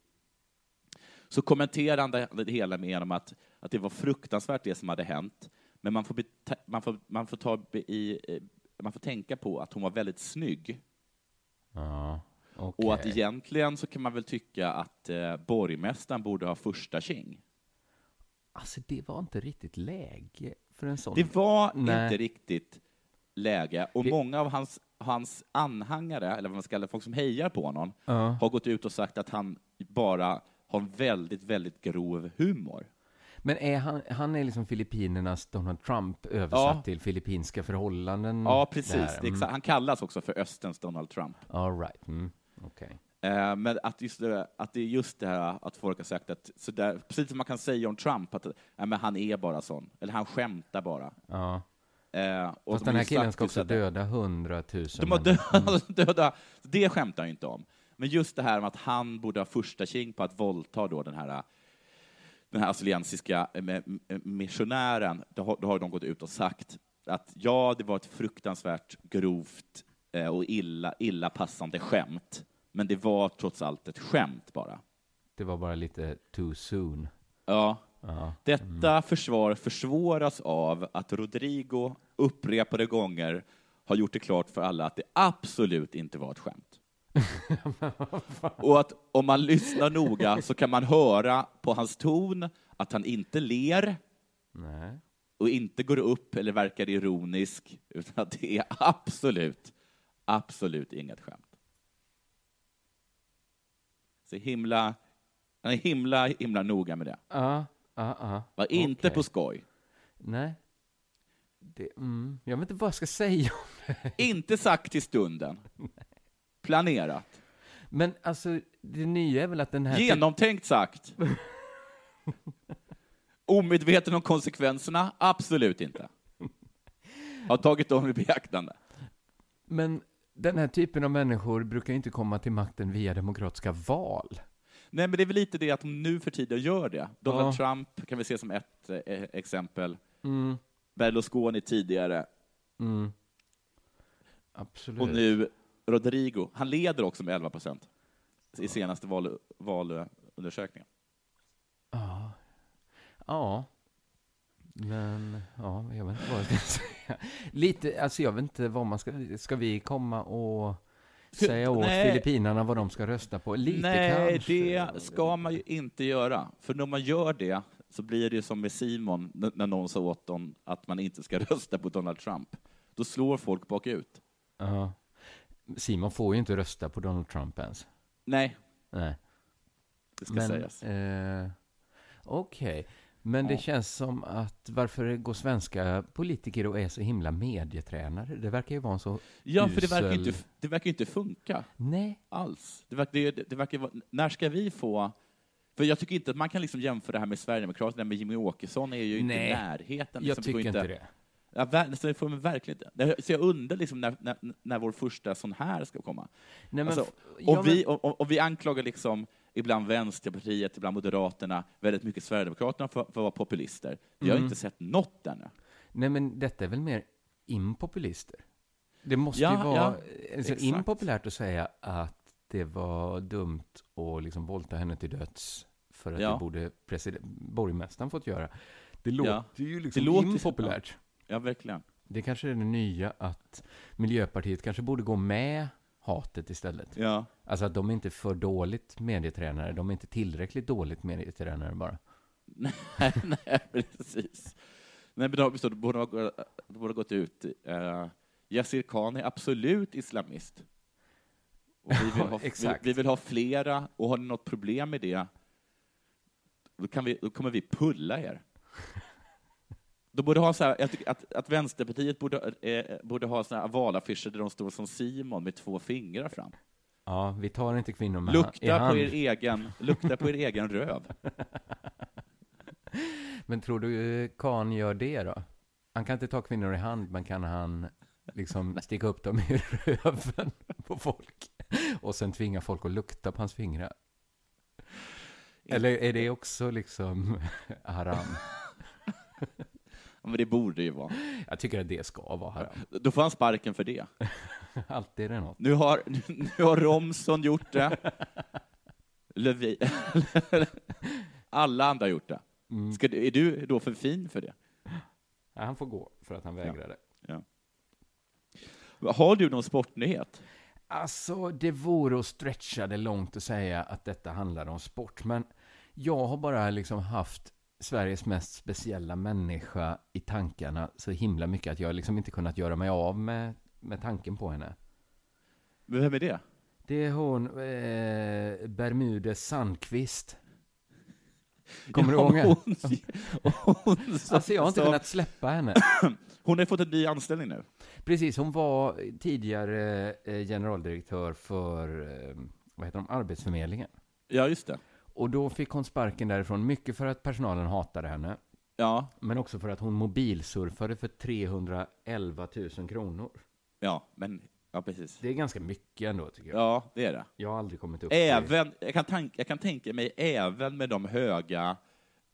så kommenterade han det det hela med genom att, att det var fruktansvärt det som hade hänt, men man får, beta- man får, man får, ta be- i, eh, man får tänka på att hon var väldigt snygg. Ja. Och att egentligen så kan man väl tycka att eh, borgmästaren borde ha första tjing. Alltså det var inte riktigt läge för en sån. Det var Nej. inte riktigt läge. Och många av hans, hans anhängare, eller vad man ska kalla det, folk som hejar på honom, Ja. har gått ut och sagt att han bara har en väldigt, väldigt grov Mm. humor. Men är han, han är liksom Filippinernas Donald Trump översatt Ja. till filippinska förhållanden? Ja, precis. där. Mm. Det är exakt. Han kallas också för Österns Donald Trump. All right. Mm. Okej. Eh, Men att, just det, att det är just det här att folk har sagt att, så där, precis som man kan säga om Trump, att nej, men han är bara sån, eller han skämtar bara. Ja. Eh, och Fast de har den här ju killen sagt ska just också att- döda hundratusen. De har (laughs) döda, döda, det skämtar han ju inte om. Men just det här med att han borde ha första king på att våldta då den här den här australiensiska eh, me- eh, missionären, då har, då har de gått ut och sagt att ja, det var ett fruktansvärt grovt eh, och illa, illa passande skämt, men det var trots allt ett skämt bara. Det var bara lite too soon. Ja. Ja. Detta försvar försvåras av att Rodrigo upprepade gånger har gjort det klart för alla att det absolut inte var ett skämt. Och att om man lyssnar noga så kan man höra på hans ton att han inte ler Nej. och inte går upp eller verkar ironisk, utan att det är absolut, absolut inget skämt. Så himla, han är himla, himla noga med det. Ja, ja, ja. Var inte Okej. på skoj. Nej. Det, mm. Jag vet inte vad jag ska säga om det. Inte sagt i (laughs) stunden. Planerat. Men alltså, det nya är väl att den här... typ- Genomtänkt sagt. Omedveten om konsekvenserna? Absolut inte. Har tagit dem i beaktande. Men den här typen av människor brukar ju inte komma till makten via demokratiska val. Nej, men det är väl lite det att de nu för tiden gör det. Donald Ja. Trump kan vi se som ett eh, exempel. Mm. Berlusconi tidigare. Mm. Absolut. Och nu Rodrigo. Han leder också med 11 procent i senaste val, valundersökningen. Ja. Ja. Men, ja, jag vet inte vad jag ska (laughs) säga. Lite, alltså jag vet inte vad man ska... Ska vi komma och säga åt Nej. Filippinerna vad de ska rösta på? Lite Nej, kanske. det ska man ju inte göra. För när man gör det så blir det ju som med Simon, n- när någon sa åt honom att man inte ska (laughs) rösta på Donald Trump. Då slår folk bakut. Ja. Simon får ju inte rösta på Donald Trump ens. Nej, Nej. det ska sägas. Eh, Okej. Men det Ja. känns som att varför går svenska politiker och är så himla medietränare? Det verkar ju vara en så Ja, för det verkar ju usel- inte, det verkar ju inte funka Nej. alls. Det verkar, det, det verkar, vara- när ska vi få... För jag tycker inte att man kan liksom jämföra det här med Sverigedemokraterna med Jimmy Åkesson är ju inte Nej, i närheten. Jag liksom. går tycker inte det. Ja, ver- så det får man verkligen inte. Så jag undrar liksom när, när, när vår första sån här ska komma. Nej, men alltså, f- och, ja, men- vi, och, och- och vi anklagar liksom ibland Vänsterpartiet, ibland Moderaterna, väldigt mycket Sverigedemokraterna för, för att vara populister. Vi har Mm. inte sett något ännu. Nej, men detta är väl mer impopulister? Det måste Ja, ju vara ja, alltså, exakt. impopulärt att säga att det var dumt att liksom våldta henne till döds för att Ja. det borde president, borgmästaren fått göra. Det låter ju liksom Det låter- impopulärt. Ja, verkligen. Det kanske är det nya att Miljöpartiet kanske borde gå med hatet istället. Ja. Alltså att de är inte för dåligt medietränare, de är inte tillräckligt dåligt medietränare bara. (laughs) nej, nej, precis. Nej, men då, visst, då borde ha gå- då borde ha gått ut. Uh, Yassir Khan är absolut islamist. Och vi, vill ha, vi, exakt. vi vill ha flera, och har ni något problem med det, då, kan vi, då kommer vi pulla er. Då borde ha så här, jag tycker att, att Vänsterpartiet borde, eh, borde ha såna här avalaffischer där de står som Simon med två fingrar fram. Ja, vi tar inte kvinnor med i Lukta på hand. er egen, lukta på er egen röv. Men tror du Kan gör det då? Han kan inte ta kvinnor i hand, men kan han liksom sticka upp dem i (laughs) röven på folk och sen tvinga folk att lukta på hans fingrar? Eller är det också liksom (laughs) haram? Ja, Men det borde ju vara. Jag tycker att det ska vara haram. Då får han sparken för det. Alltid är det något. Nu har, (laughs) nu har Romson gjort det. Löfven. (laughs) Alla andra har gjort det. Mm. Ska, du- är du då för fin för det? Ja, han får gå för att han vägrade. Ja. Har du någon sportnyhet? Alltså, det vore att stretcha det långt att säga att detta handlar om sport, men jag har bara liksom haft Sveriges mest speciella människa i tankarna så himla mycket att jag liksom inte kunnat göra mig av med, med tanken på henne. Men Vem är det? Det är hon, eh, Bermudes Sandqvist. Kommer du ihåg henne? hon, (laughs) hon som- Alltså, jag har inte som- kunnat släppa henne. Hon har fått en ny anställning nu. Precis, hon var tidigare eh, generaldirektör för, eh, vad heter de, Arbetsförmedlingen. Ja, just det. Och då fick hon sparken därifrån, mycket för att personalen hatade henne. Ja, Men också för att hon mobilsurfade för 311 000 kronor. ja, men ja, precis. Det är ganska mycket ändå, tycker jag. Ja, det är det. Jag har aldrig kommit upp till... Även, jag, kan tank, jag kan tänka mig, även med de höga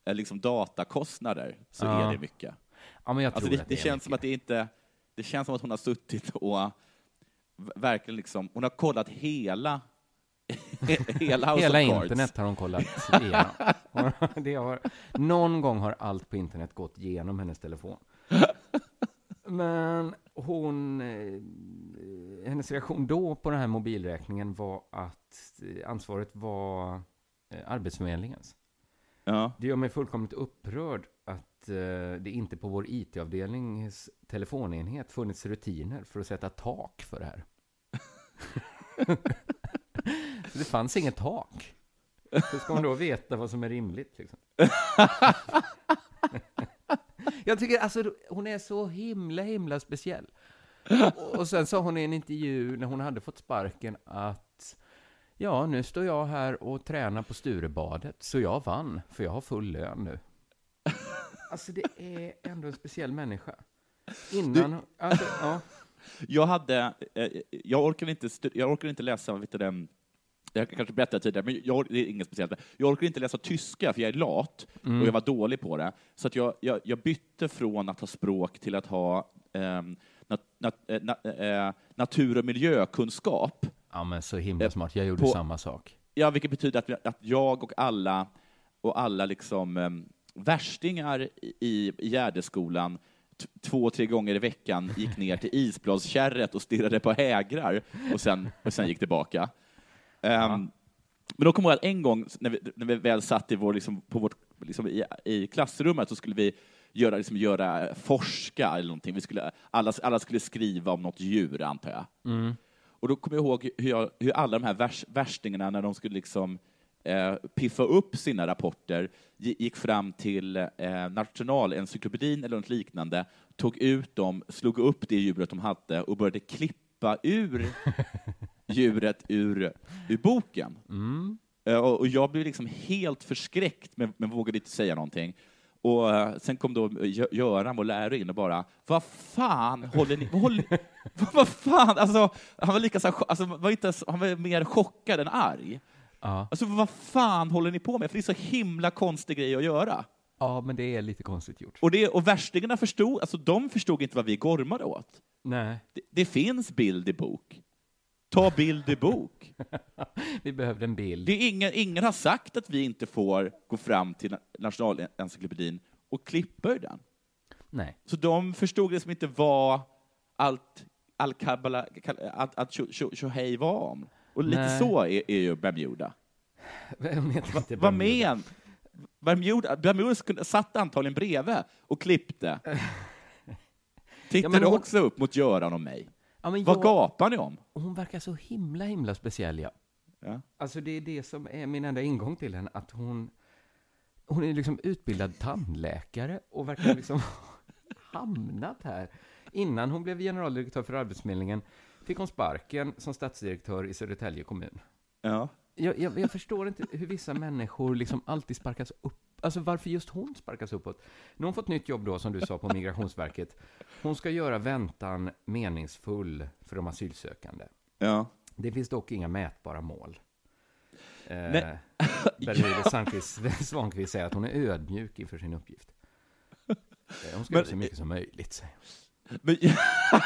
eh, liksom, datakostnader, så Ja. är det mycket. Ja, men jag Alltså tror det, det, att det, är känns som att det inte... Det känns som att hon har suttit och v- verkligen liksom... Hon har kollat hela... (laughs) hela House Hela of Cards. internet har (laughs) hon kollat igenom. (laughs) Hon- det har, någon gång har allt på internet gått igenom (laughs) hennes telefon. Men hon... eh, Hennes reaktion då på den här mobilräkningen var att eh, ansvaret var eh, Arbetsförmedlingens. Ja. Det gör mig fullkomligt upprörd att eh, det inte på vår IT-avdelnings telefonenhet funnits rutiner för att sätta tak för det här. (laughs) Så det fanns inget tak. Hur ska man då veta vad som är rimligt? Liksom? (laughs) Jag tycker alltså, hon är så himla, himla speciell. Och sen sa hon i en intervju när hon hade fått sparken att ja, nu står jag här och tränar på Sturebadet, så jag vann, för jag har full lön nu. (laughs) Alltså, det är ändå en speciell människa. Innan, alltså, ja. Jag hade... Eh, jag orkar inte, stu- jag orkar inte läsa... Vet du, den, mm, jag kanske berättade tidigare, men jag, det är inget speciellt. Jag orkar inte läsa tyska, för jag är lat Mm. och jag var dålig på det. Så att jag, jag, jag bytte från att ha språk till att ha ehm, nat, nat, eh, na, eh, natur och miljökunskap. ja, men så himla smart. Jag gjorde Eh, På- samma sak. Ja, vilket betyder att, att jag och alla, och alla liksom, em, värstingar i- i i Gärdeskolan t- två, tre gånger i veckan gick ner till isbladskärret och stirrade på hägrar och sen, och sen gick tillbaka. Em, Men då kommer jag ihåg att en gång när vi, när vi väl satt i, vår, liksom, på vårt, liksom, i, i klassrummet så skulle vi göra, liksom, göra forska eller någonting. Vi skulle, alla, alla skulle skriva om något djur, antar jag. Mm. Och då kommer jag ihåg hur, jag, hur alla de här värs, värstingarna, när de skulle liksom, eh, piffa upp sina rapporter, gi- gick fram till eh, Nationalencyklopedin eller något liknande, tog ut dem, slog upp det djuret de hade och började klippa ur djuret ur, ur boken. Eh, Och, och jag blev liksom helt förskräckt, men, men vågade inte säga någonting. Och eh, sen kom då Gö- Göran, vår lärare, in och bara ”Vad fan håller ni... Vad, håller, (laughs) vad, vad fan?” alltså, Han var lika så här, cho- alltså, var inte, ens- han var mer chockad än arg. Ja. Alltså, vad fan håller ni på med? För det är så himla konstig grej att göra. ja, men det är lite konstigt gjort. Och, det, och värstingarna förstod, alltså, de förstod inte vad vi gormade åt. Nej, Det, det finns bild i bok. Ta bild i bok. vi behövde en bild. Det är ingen, ingen har sagt att vi inte får gå fram till na- Nationalencyklopedin och klippa ur den. Nej. (laughs) Så de förstod liksom inte vad allt, Al-Kabala, Kal- att, att Sho- Sho- Shohei var om. Och lite Nej. så är, är ju Bermuda. inte Vad Bermuda. men? Bermuda, Bermuda skulle- satt antagligen bredvid och (laughs) klippte. Tittade men hon- också upp mot Göran och mig. Ja, men Vad jag- gapar ni om? Hon verkar så himla, himla speciell, ja. Ja. Alltså, det är det som är min enda ingång till henne, att hon... Hon är liksom utbildad tandläkare och verkar liksom (laughs) ha hamnat här. Innan hon blev generaldirektör för Arbetsförmedlingen fick hon sparken som stadsdirektör i Södertälje kommun. Ja. Jag, jag, jag förstår inte hur vissa människor liksom alltid sparkas upp. Alltså varför just hon sparkas uppåt? Nu har hon fått nytt jobb då, som du sa, på Migrationsverket. Hon ska göra väntan meningsfull för de asylsökande. Ja. Det finns dock inga mätbara mål. Eh, (laughs) Nej. Bermude Sandqvist- Svankvist säger att hon är ödmjuk inför sin uppgift. Eh, Hon ska Men- göra så mycket som möjligt, säger hon. Men, (laughs)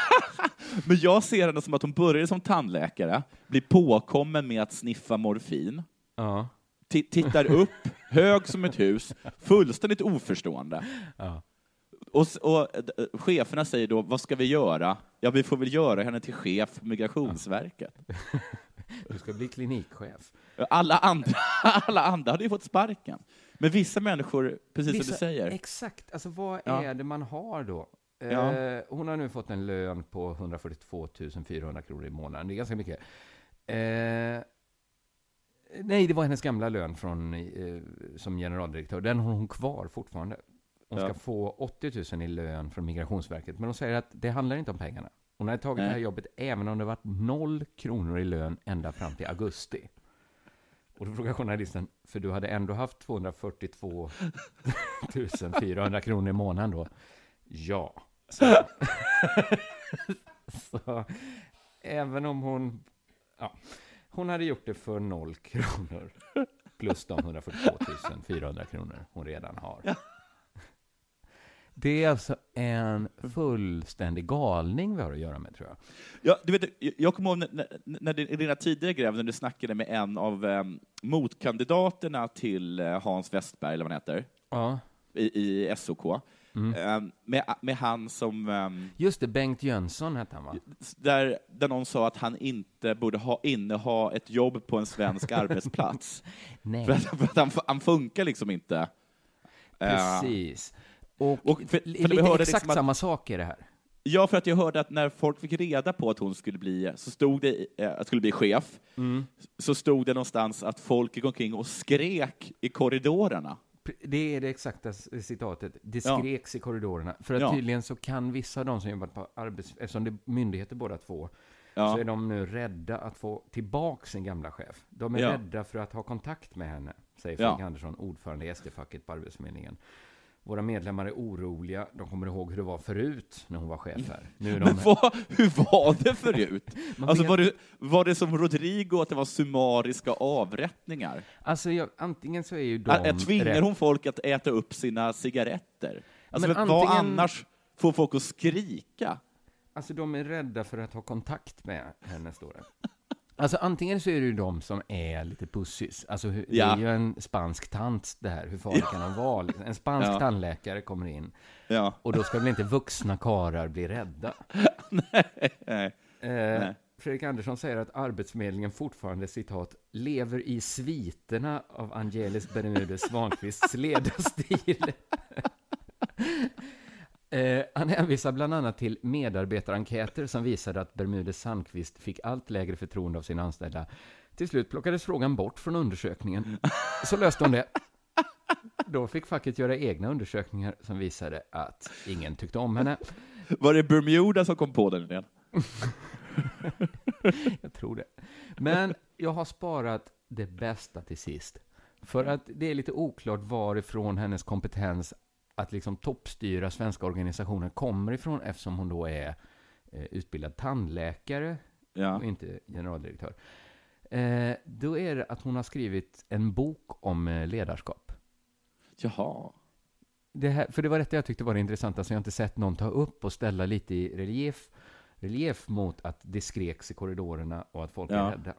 men jag ser henne som att hon började som tandläkare, blir påkommen med att sniffa morfin, Ja. ti- (laughs) tittar upp, hög som ett hus, fullständigt oförstående. Ja. Och, s- och eh, eh, cheferna säger då, vad ska vi göra? Ja, vi får väl göra henne till chef för Migrationsverket. Du ska bli klinikchef. Alla andra, (laughs) alla andra hade ju fått sparken. Men vissa människor, precis som Vissa- du säger, Exakt. Alltså, vad Ja. är det man har då? Eh, Ja. Hon har nu fått en lön på 142 400 kronor i månaden. Det är ganska mycket. Eh, nej, det var hennes gamla lön från, eh, som generaldirektör. Den har hon kvar fortfarande. Hon ska Ja. få 80 000 i lön från Migrationsverket. Men hon säger att det handlar inte om pengarna. Hon har tagit det här Nej. jobbet även om det varit noll kronor i lön ända fram till augusti. Och då frågar journalisten, för du hade ändå haft 242 400 kronor i månaden då? Ja. Så, så även om hon... Ja, hon hade gjort det för noll kronor plus de 142 400 kronor hon redan har. Det är alltså en fullständig galning vi har att göra med, tror jag. Ja, du vet, jag- jag kommer ihåg när, när, när din- i dina tidigare gräv, när du snackade med en av eh, motkandidaterna till eh, Hans Westberg, eller vad han heter, Ja. i, i SOK, eh, med, med han som... ehm, Just det, Bengt Jönsson hette han, va? där, där någon sa att han inte borde ha, inneha ett jobb på en svensk arbetsplats. Nej. För att, för att han, han funkar liksom inte. Eh, Precis. Och, Och för- för vi lite hörde exakt liksom att- samma sak är det här. Ja, för att jag hörde att när folk fick reda på att hon skulle bli, så stod det, i- eh, skulle bli chef, Mm. så stod det någonstans att folk gick omkring och skrek i korridorerna. Pre- Det är det exakta s- citatet. Det skreks i korridorerna. För att Ja. tydligen så kan vissa av de som jobbat på arbets... Eftersom det är myndigheter båda två, Ja. så är de nu rädda att få tillbaka sin gamla chef. De är Ja. rädda för att ha kontakt med henne, säger Ja. Fredrik Andersson, ordförande i SD-facket på Arbetsförmedlingen. Våra medlemmar är oroliga. De kommer ihåg hur det var förut när hon var chef här. Nu är (laughs) de Men vad, hur var det förut? (laughs) Man Alltså, vet- var, det, var det som Rodrigo, att det var summariska avrättningar? Alltså, jag, antingen så är ju de... Ä- Tvingar rätt- hon folk att äta upp sina cigaretter? Alltså, Men men vad antingen- annars får folk att skrika? Alltså de är rädda för att ha kontakt med henne, står det. Alltså antingen så är det ju de som är lite pussis. Alltså hur- det Ja. är ju en spansk tant det här, hur farlig kan hon vara? liksom? En spansk (laughs) Ja. tandläkare kommer in Ja. och då ska väl inte vuxna karar bli rädda? (laughs) Nej. Eh, Fredrik Andersson säger att Arbetsförmedlingen fortfarande, citat, lever i sviterna av Angelis Bermudez (laughs) Svankvists ledarstil. (laughs) Eh, han hänvisar bland annat till medarbetarenkäter som visade att Bermudez Sandqvist fick allt lägre förtroende av sina anställda. Till slut plockades frågan bort från undersökningen. Så löste hon det. Då fick facket göra egna undersökningar som visade att ingen tyckte om henne. Var det Bermuda som kom på den idén? Jag tror det. Men jag har sparat det bästa till sist. För att det är lite oklart varifrån hennes kompetens att liksom toppstyra svenska organisationer kommer ifrån eftersom hon då är eh, utbildad tandläkare Ja. och inte generaldirektör. Eh, då är det att hon har skrivit en bok om eh, ledarskap. Jaha. Det här, för det var detta jag tyckte var det intressanta som jag inte sett någon ta upp och ställa lite i relief, relief mot att det skreks i korridorerna och att folk är Ja. rädda.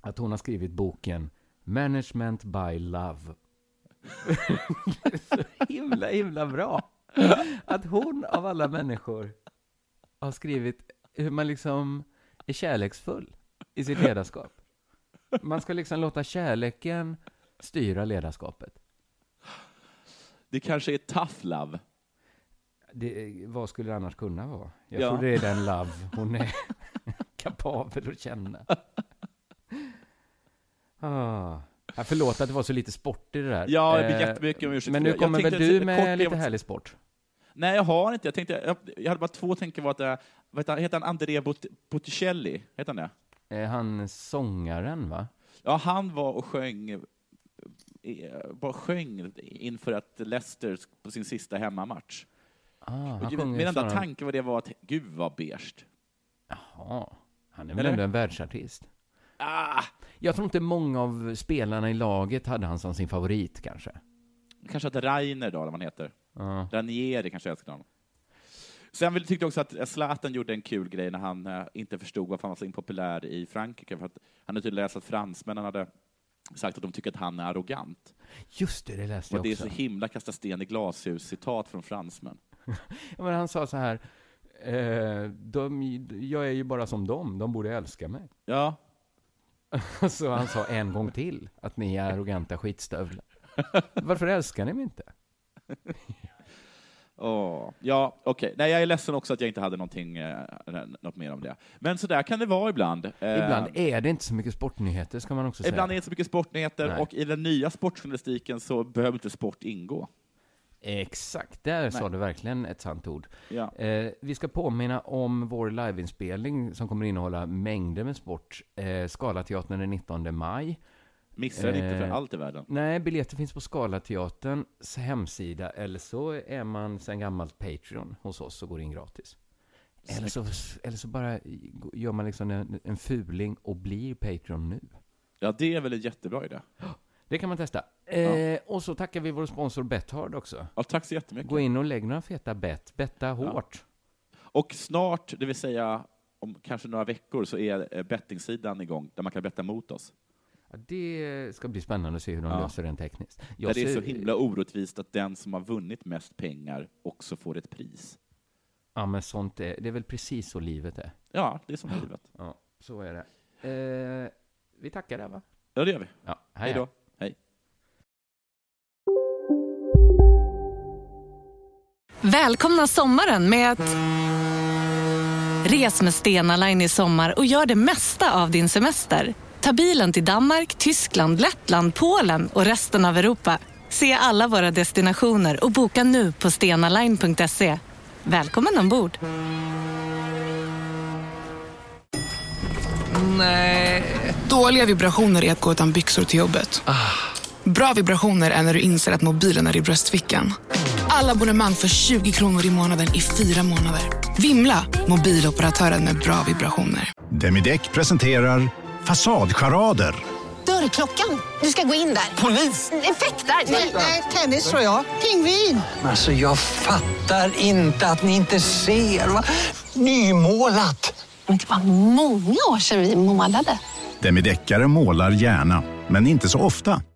Att hon har skrivit boken Management by Love. Det är så himla, himla bra! Att hon av alla människor har skrivit hur man liksom är kärleksfull i sitt ledarskap. Man ska liksom låta kärleken styra ledarskapet. Det kanske är tough love. Det, vad skulle det annars kunna vara? Jag Ja. tror det är den love hon är (laughs) kapabel att känna. Ah. Ja, förlåt att det var så lite sport i det där. Ja, jag ber Eh, jättemycket om ursäkt Men för nu det. Jag kommer väl tänkte du att- med kort, jag- lite härlig sport? Nej, jag har inte. Jag, tänkte, jag, jag hade bara två tankar. Var att, eh, vad heter han? heter han Andrea Bot- Botticelli? Heter han det? Eh, Han sångaren, va? Ja, han var och sjöng, eh, eh, bara sjöng inför att Leicester på sin sista hemmamatch. Ah, han Och ju- sjunger min enda snarare- tanke var det var att, gud vad beige. Jaha. Han är väl Eller? ändå en världsartist? Ah, jag tror inte många av spelarna i laget hade han som sin favorit, kanske. Kanske att Rainer då, eller vad han heter. Ja. Ranieri kanske älskar honom. Sen vill- tyckte jag också att eh, Zlatan gjorde en kul grej när han eh, inte förstod varför han var så impopulär i Frankrike. För att han hade tydligen läst att fransmännen hade sagt att de tycker att han är arrogant. Just det, det Och läste jag att det är också. så himla kasta sten i glashus-citat från fransmän. Ja, Men han sa så här, eh, de, jag är ju bara som dem, de borde älska mig. (laughs) Ja. Så han sa en gång till, att ni är arroganta skitstövlar. (laughs) Varför älskar ni mig inte? Åh, Ja, okej. Nej, jag är ledsen också att jag inte hade någonting, eh, n- något mer om det. Men så där kan det vara ibland. Eh, Ibland är det inte så mycket sportnyheter, ska man också säga. ibland är det inte så mycket sportnyheter Nej. och i den nya sportjournalistiken så behöver inte sport ingå. Exakt, där sa du verkligen ett sant ord. Ja. Eh, vi ska påminna om vår liveinspelning som kommer innehålla mängder med sport. Eh, Scalateatern den 19 maj. Missa den Eh. inte för allt i världen. Nej, biljetter finns på Scalateaterns hemsida eller så är man sen gammalt Patreon hos oss och går in gratis. Eller så, eller så bara gör man liksom en, en fuling och blir Patreon nu. Ja, det är väl en jättebra idé. Det kan man testa. Eh, Och så tackar vi vår sponsor Bethard också. Ja, tack så jättemycket. Gå in och lägg några feta bett. Betta hårt. Och snart, det vill säga om kanske några veckor, så är eh, bettingsidan igång där man kan betta mot oss. Ja, det ska bli spännande att se hur de Ja. löser den tekniskt. Där det är så himla orättvist att den som har vunnit mest pengar också får ett pris. Ja, men sånt är, det är väl precis så livet är. Ja, det är som livet. Ja, så är det. Eh, vi tackar där, va? Ja, det gör vi. Ja, Hej då. Hej. Välkomna sommaren med att... Res med Stena Line i sommar och gör det mesta av din semester. Ta bilen till Danmark, Tyskland, Lettland, Polen och resten av Europa. Se alla våra destinationer och boka nu på stenaline.se. Välkommen ombord! Nej. Dåliga vibrationer är att gå utan byxor till jobbet. Bra vibrationer är när du inser att mobilen är i bröstfickan. Alla abonnemang för 20 kronor i månaden i fyra månader. Vimla! Mobiloperatören med bra vibrationer. Demideck presenterar Fasadcharader. Dörrklockan. Du ska gå in där. Polis? Effektar? Nej, tennis tror jag. Pingvin. Alltså jag fattar inte att ni inte ser. Va? Nymålat. Men det var många år sedan vi målade. Demideckare målar gärna, men inte så ofta.